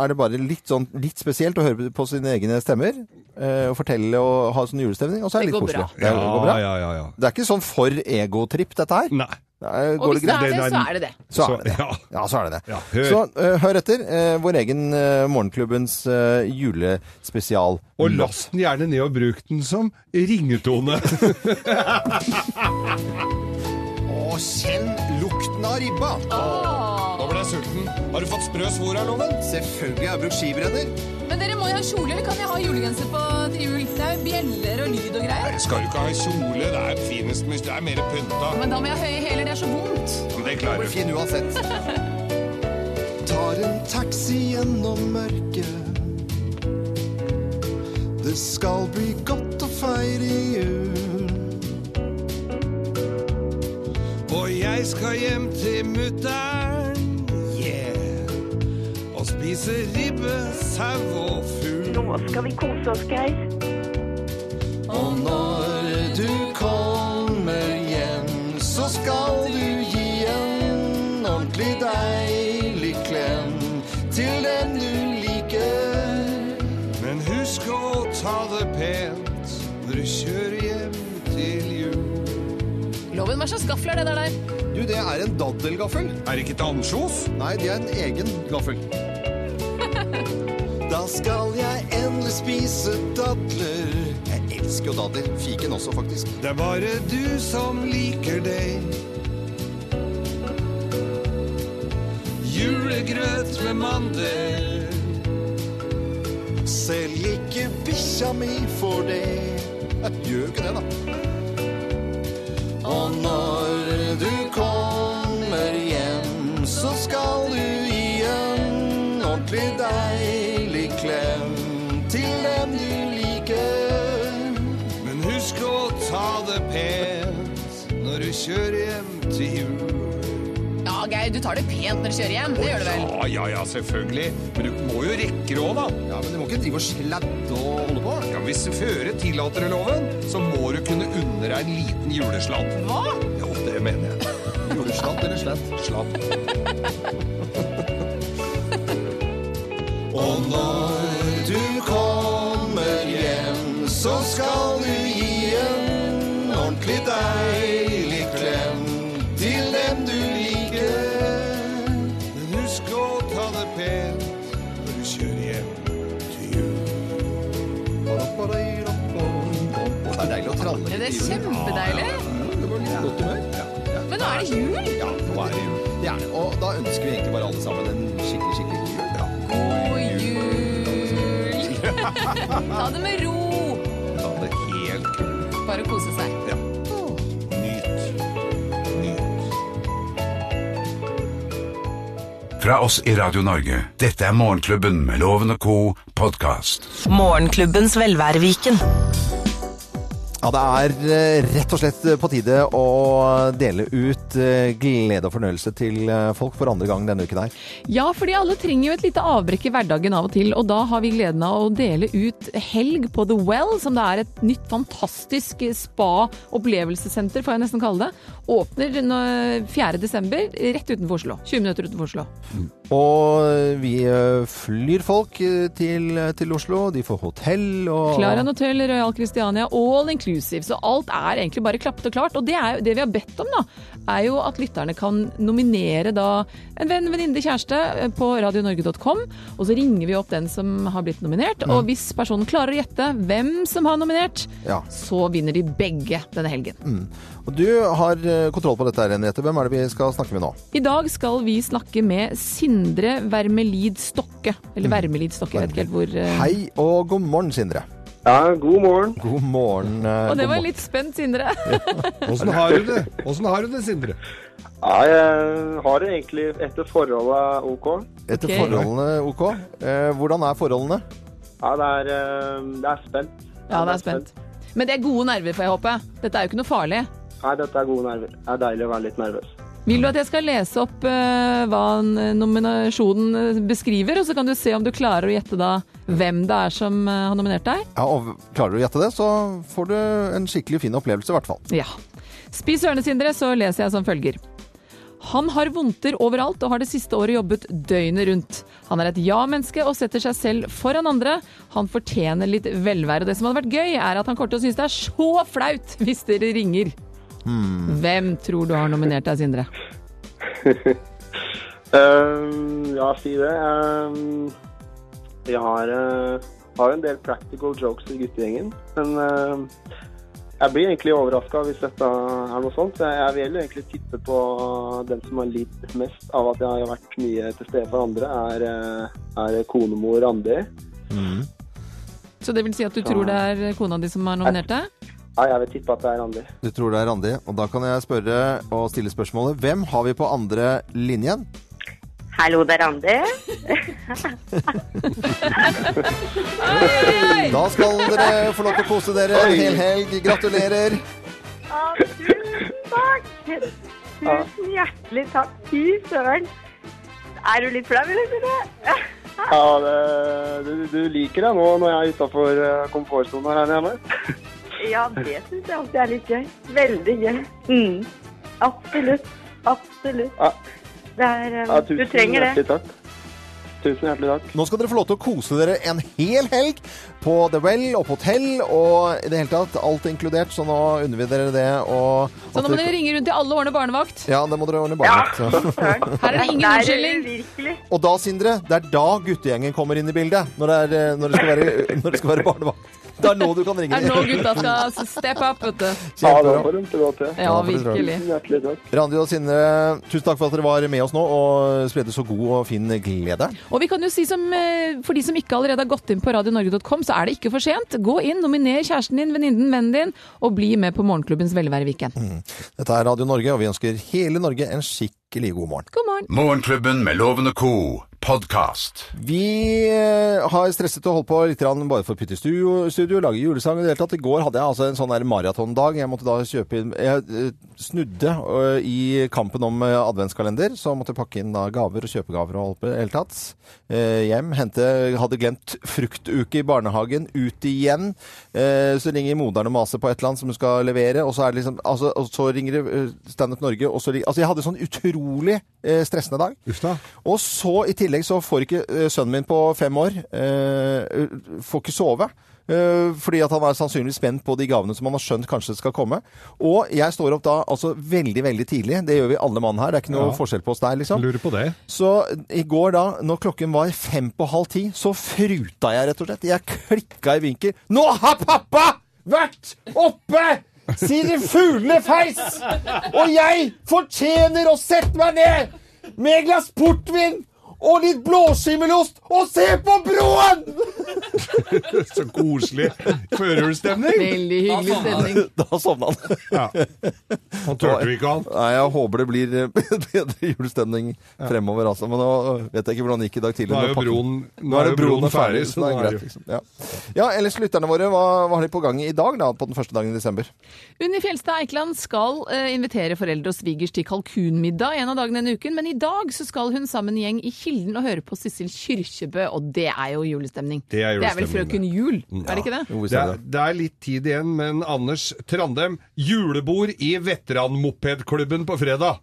Speaker 3: er det bare litt, sånn, litt spesielt å høre på sine egne stemmer, eh, og fortelle og ha sånn julestemning, og så er det
Speaker 4: Det
Speaker 3: litt
Speaker 4: går bra.
Speaker 3: koselig. Det går bra.
Speaker 5: ja, ja, ja.
Speaker 3: Det er ikke sånn for egotripp dette her.
Speaker 5: Nei.
Speaker 3: Eh,
Speaker 4: Og
Speaker 3: Går det
Speaker 4: hvis det
Speaker 3: greit?
Speaker 4: er
Speaker 5: Det
Speaker 4: det,
Speaker 5: er
Speaker 4: så
Speaker 5: den-
Speaker 4: er det det.
Speaker 3: Så
Speaker 5: Så,
Speaker 3: er det det.
Speaker 5: ja.
Speaker 3: Ja, så er det det.
Speaker 5: Ja, hør.
Speaker 3: Så eh, hør etter. eh, vår egen eh, Morgenklubbens eh, julespesial.
Speaker 5: Og last den gjerne ned og bruk den som ringetone.
Speaker 3: Og kjenn lukten av ribba!
Speaker 5: Nå ble jeg sulten. Har du fått sprø svor her, Loven?
Speaker 3: Selvfølgelig har jeg brukt skibrenner.
Speaker 4: Men dere må jo ha kjole, eller kan vi ha julegenser på til jul? Det er jo bjeller og lyd og greier.
Speaker 5: Skal du ikke ha kjole? Det er finest med Det er mer pynta.
Speaker 4: Men da må jeg ha høye hæler, det er så vondt.
Speaker 5: Men det klarer du.
Speaker 3: Fin uansett. Tar en taxi gjennom mørket. Det skal bli godt å feire jul.
Speaker 5: Og jeg skal hjem til mutter'n, yeah. Og spise ribbe, sau og fugl.
Speaker 6: Nå skal vi kose oss, Geir.
Speaker 3: Og når du kommer hjem, så skal du gi en ordentlig deilig klem til den du liker.
Speaker 5: Men husk å ta det pent når du kjører hjem til jul.
Speaker 4: Loven, hva slags gaffel er det der der?
Speaker 3: Du, det er en daddelgaffel.
Speaker 5: Er det ikke til ansjos?
Speaker 3: Nei, det er en egen gaffel. Da skal jeg endelig spise dadler. Jeg elsker jo dadler. Fiken også, faktisk.
Speaker 5: Det er bare du som liker deg. Julegrøt med mandel.
Speaker 3: Selv ikke bikkja mi får det. Jeg gjør jo ikke det, da. Og når du kommer hjem, så skal du gi en ordentlig deilig klem til dem du liker.
Speaker 5: Men husk å ta det pent når du kjører hjem til jul.
Speaker 4: Ja, Geir, du tar det pent når du kjører hjem. Det gjør du vel.
Speaker 5: Ja, ja, ja, selvfølgelig. Men du må jo rekke råd, da.
Speaker 3: Ja, men du må ikke drive og sladde og holde på.
Speaker 5: Ja, hvis føret tillater det loven, så må du kunne unne deg en liten julesladd. Hva? Jo, det mener jeg.
Speaker 3: Julesladd eller sladd?
Speaker 5: Sladd.
Speaker 3: Og når du kommer hjem, så skal du gi en ordentlig deilig klem til dem du liker.
Speaker 5: Men husk å ta det pent når du kjører hjem til jul.
Speaker 3: Det er deilig å tralle.
Speaker 4: Ja, det er kjempedeilig.
Speaker 3: Det var litt godt humør.
Speaker 4: Men nå er det jul.
Speaker 3: Ja, nå er det jul. Det er det. Og da ønsker vi egentlig bare alle sammen en skikkelig, skikkelig god jul.
Speaker 4: God jul. Ta det med ro.
Speaker 5: Ta det helt kult.
Speaker 4: Bare kose seg.
Speaker 5: Ja. Nyt. Nyt.
Speaker 2: Fra oss i Radio Norge, dette er Morgenklubben med Loven og Co. podkast.
Speaker 9: Morgenklubbens velværeviken.
Speaker 3: Ja, det er eh, rett og slett på tide å dele ut eh, glede og fornøyelse til eh, folk for andre gang denne uken her.
Speaker 4: Ja, fordi alle trenger jo et lite avbrekk i hverdagen av og til, og da har vi gleden av å dele ut helg på The Well, som det er et nytt fantastisk spa-opplevelsessenter, får jeg nesten kalle det. Åpner nå- 4. desember, rett utenfor Oslo. 20 minutter utenfor Oslo.
Speaker 3: Og vi eh, flyr folk eh, til, til Oslo. De får hotell og
Speaker 4: Clarion Hotel, Royal Christiania, all inclusive. Så alt er egentlig bare klappet og klart. Og det, er, jo- det vi har bedt om, da, er jo at lytterne kan nominere da en venn, venninne, kjæreste eh, på radionorge.com. Og så ringer vi opp den som har blitt nominert. Og hvis personen klarer å gjette hvem som har nominert,
Speaker 3: Mm. Ja. Mm.
Speaker 4: så vinner de begge denne helgen.
Speaker 3: Og du har eh, kontroll på dette her, Henriette. Hvem er det vi skal snakke med nå?
Speaker 4: I dag skal vi snakke med Sindre Wermelid Stokke.
Speaker 3: Mm.
Speaker 4: Eller Wermelid Stokke, jeg vet ikke helt hvor eh,
Speaker 3: Hei og god morgen, Sindre.
Speaker 11: Ja, god morgen.
Speaker 3: God morgen. eh,
Speaker 4: Og
Speaker 3: god
Speaker 4: det var
Speaker 3: morgen.
Speaker 4: litt spent, Sindre.
Speaker 5: Åssen har du det, Hvordan har du det, Sindre?
Speaker 11: Ja, jeg har det egentlig etter forholdet er OK.
Speaker 3: Etter
Speaker 4: Ok.
Speaker 3: forholdene OK. Eh, hvordan er forholdene?
Speaker 11: Ja, det er, eh, det er spent.
Speaker 4: Ja, det er spent. Men det er gode nerver, får jeg håpe. Dette er jo ikke noe farlig.
Speaker 11: Nei, dette er gode nerver. Det er deilig å være litt nervøs.
Speaker 4: Vil du at jeg skal lese opp eh, hva en- nominasjonen eh, beskriver, og så kan du se om du klarer å gjette da hvem det er som eh, har nominert deg?
Speaker 3: Ja, og Klarer du å gjette det, så får du en skikkelig fin opplevelse, i hvert fall.
Speaker 4: Ja. Spis ørene, Sindre, så leser jeg som følger. Han har vondter overalt og har det siste året jobbet døgnet rundt. Han er et ja-menneske og setter seg selv foran andre. Han fortjener litt velvære. Og det som hadde vært gøy, er at han kommer til å synes det er så flaut hvis dere ringer. Hvem tror du har nominert deg, Sindre?
Speaker 11: Eh, ja, si det. Eh, jeg har, eh, har en del practical jokes i guttegjengen, men eh, jeg blir egentlig overraska hvis dette er noe sånt. Jeg, jeg vil egentlig tippe på den som har lidd mest av at jeg har vært mye til stede for andre, er, eh, er konemor Randi.
Speaker 4: Så det vil si at du tror det er kona di som har nominert deg?
Speaker 11: Nei, jeg vil tippe at det er Randi.
Speaker 3: Du tror det er Randi, og da kan jeg spørre og stille spørsmålet Hvem har vi på andre linjen?
Speaker 12: Hallo, det er Randi.
Speaker 3: Da skal dere få lov til å kose dere en hel helg. Gratulerer!
Speaker 12: Å, tusen takk! Tusen hjertelig takk. Fy søren. Er du litt flau, eller? Sindre?
Speaker 11: Ja, det, du, du liker deg nå når jeg er utafor komfortsona her hjemme.
Speaker 12: Ja, det syns jeg alltid er litt gøy. Veldig gøy. Mm. Absolutt. Absolutt.
Speaker 11: Ja,
Speaker 12: Det er, eh,
Speaker 11: ja,
Speaker 12: du
Speaker 11: tusen
Speaker 12: trenger det.
Speaker 11: hjertelig takk. Tusen hjertelig takk.
Speaker 3: Nå skal dere få lov til å kose dere en hel helg på The Well og på hotell og i det hele tatt alt inkludert, så nå unner vi dere det. Og
Speaker 4: Så nå må dere ringe rundt til alle årene barnevakt.
Speaker 3: Ja, det må dere ordne barnevakt. så.
Speaker 4: Her er det ingen
Speaker 12: Nei,
Speaker 4: unnskyldning.
Speaker 12: Virkelig.
Speaker 3: Og da, Sindre, det er da guttegjengen kommer inn i bildet. Når det, er, eh, når det, skal, være, når det skal være barnevakt. Det er nå du kan ringe.
Speaker 4: Er det nå gutta skal step up, vet du.
Speaker 11: Ja, det
Speaker 3: Kjempebra.
Speaker 11: får de til å gå til.
Speaker 4: Ja, virkelig.
Speaker 11: Tusen hjertelig takk.
Speaker 3: Randi og Sindre, tusen takk for at dere var med oss nå og spredde så god og fin glede.
Speaker 4: Og vi kan jo si som, eh, for de som ikke allerede har gått inn på radionorge.com, så er det ikke for sent. Gå inn, nominer kjæresten din, venninnen, vennen din, og bli med på Morgenklubbens velværeweekend.
Speaker 3: Dette er Radio Norge, og vi ønsker hele Norge en skikkelig god morgen.
Speaker 4: God morgen.
Speaker 2: Morgenklubben med Loven og Co. Podcast.
Speaker 3: Vi eh, har stresset og holdt på litt grann bare for å pytte i studio, studio, lage julesang og i det hele tatt. I går hadde jeg altså en sånn der maratondag. Jeg måtte da kjøpe inn Jeg eh, snudde eh, i kampen om eh, adventskalender, så måtte jeg pakke inn da gaver og kjøpegaver og alt på i det hele tatt. Eh, Hjem, hente Hadde glemt fruktuke i barnehagen. Ut igjen. Eh, Så ringer moderen og maser på et eller annet som hun skal levere, og så er det liksom altså, Og så ringer det eh, Stand Up Norge, og så ringer Altså, jeg hadde sånn utrolig eh, stressende dag.
Speaker 5: Uff da.
Speaker 3: Og så i tillegg så får ikke eh, sønnen min på fem år eh, får ikke sove. eh, fordi at han er sannsynligvis spent på de gavene som han har skjønt kanskje skal komme. Og jeg står opp da altså veldig, veldig tidlig. Det gjør vi alle mann her. Det er ikke noe
Speaker 5: Ja.
Speaker 3: forskjell på oss der, liksom.
Speaker 5: Lurer på det.
Speaker 3: Så i går da, når klokken var fem på halv ti, så fruta jeg rett og slett. Jeg klikka i vinkel. Nå har pappa vært oppe! Siden fuglene feis! Og jeg fortjener å sette meg ned med et glass portvin og litt blåskimmelost og se på broen!
Speaker 5: Så koselig. Førjulsstemning!
Speaker 4: Veldig hyggelig stemning.
Speaker 3: Da sovna han.
Speaker 5: Ja. Han tørte vi ikke han.
Speaker 3: Nei, jeg håper det blir bedre julestemning fremover, altså. Men nå vet jeg ikke hvordan det gikk i dag
Speaker 5: Nå
Speaker 3: tidlig.
Speaker 5: er
Speaker 3: når
Speaker 5: jo
Speaker 3: pakken-
Speaker 5: broen- nå
Speaker 3: nå er det broen ferdig, så det er greit.
Speaker 5: jo-
Speaker 3: Liksom. Ja. ja, ellers lytterne våre, hva, hva har de på gang i dag da, på den første dagen i desember?
Speaker 4: Unni Fjelstad Eikeland skal eh, invitere foreldre og svigers til kalkunmiddag en av dagene denne uken, men i dag så skal hun sammen med en gjeng i Kilden og høre på Sissel Kyrkjebø, og det er jo julestemning.
Speaker 5: Det er
Speaker 4: vel
Speaker 5: julestemning,
Speaker 4: Frøken Jul, er det Mm, ikke det?
Speaker 3: Jo, vi
Speaker 5: Det
Speaker 3: ser
Speaker 5: er,
Speaker 3: det.
Speaker 5: det er litt tid igjen, men Anders Trandem, julebord i veteranmopedklubben på fredag.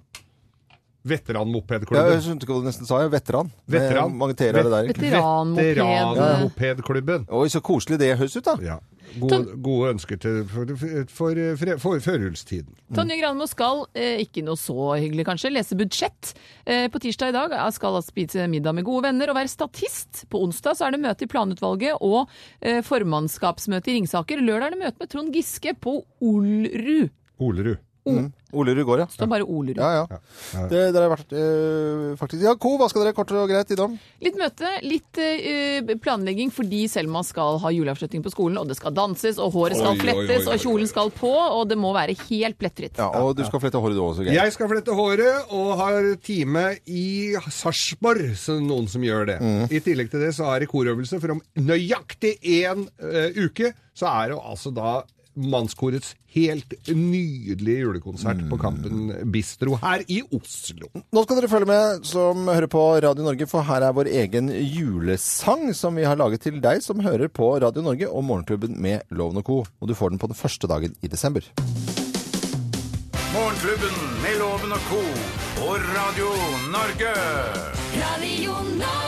Speaker 3: Ja, jeg
Speaker 5: Veteranmopedklubben.
Speaker 3: skjønte ikke hva du nesten sa. Jeg er veteran.
Speaker 5: Veteran.
Speaker 3: Med Mange T-er er det der.
Speaker 5: Vet- Veteranmoped. Veteranmopedklubben.
Speaker 3: Oi, så koselig det høres ut, da.
Speaker 5: Gode, gode ønsker til, for, for, for, for førjulstiden.
Speaker 4: Tonje Granmo skal, eh, ikke noe så hyggelig kanskje, lese budsjett. Eh, på tirsdag i dag skal han spise middag med gode venner og være statist. På onsdag så er det møte i planutvalget og eh, formannskapsmøte i Ringsaker. Lørdag er det møte med Trond Giske på Olrud.
Speaker 5: Olerud.
Speaker 3: Mm. Olerud går, ja.
Speaker 4: Står bare Olerud.
Speaker 3: Ja, ja. Det, det har vært eh, faktisk Ja, Co, hva skal dere kort og greit i dag?
Speaker 4: Litt møte, litt eh, planlegging fordi Selma skal ha juleavslutning på skolen, og det skal danses, og håret skal
Speaker 3: Oi, oi, oi,
Speaker 4: flettes,
Speaker 3: oi,
Speaker 4: og kjolen skal på, og det må være helt plettfritt.
Speaker 3: Ja, og du skal flette håret du også, Geir.
Speaker 5: Jeg skal flette håret og har time i Sarpsborg, så noen som gjør det. I tillegg til det så er det korøvelse, for om nøyaktig én eh, uke så er det altså da mannskorets helt nydelige julekonsert på Kampen Bistro her i Oslo.
Speaker 3: Nå skal dere følge med som hører på Radio Norge, for her er vår egen julesang som vi har laget til deg som hører på Radio Norge og Morgenklubben med Loven og Co. Og du får den på den første dagen i desember.
Speaker 2: Morgenklubben med Loven og co. på Radio Norge.
Speaker 1: Radio Norge.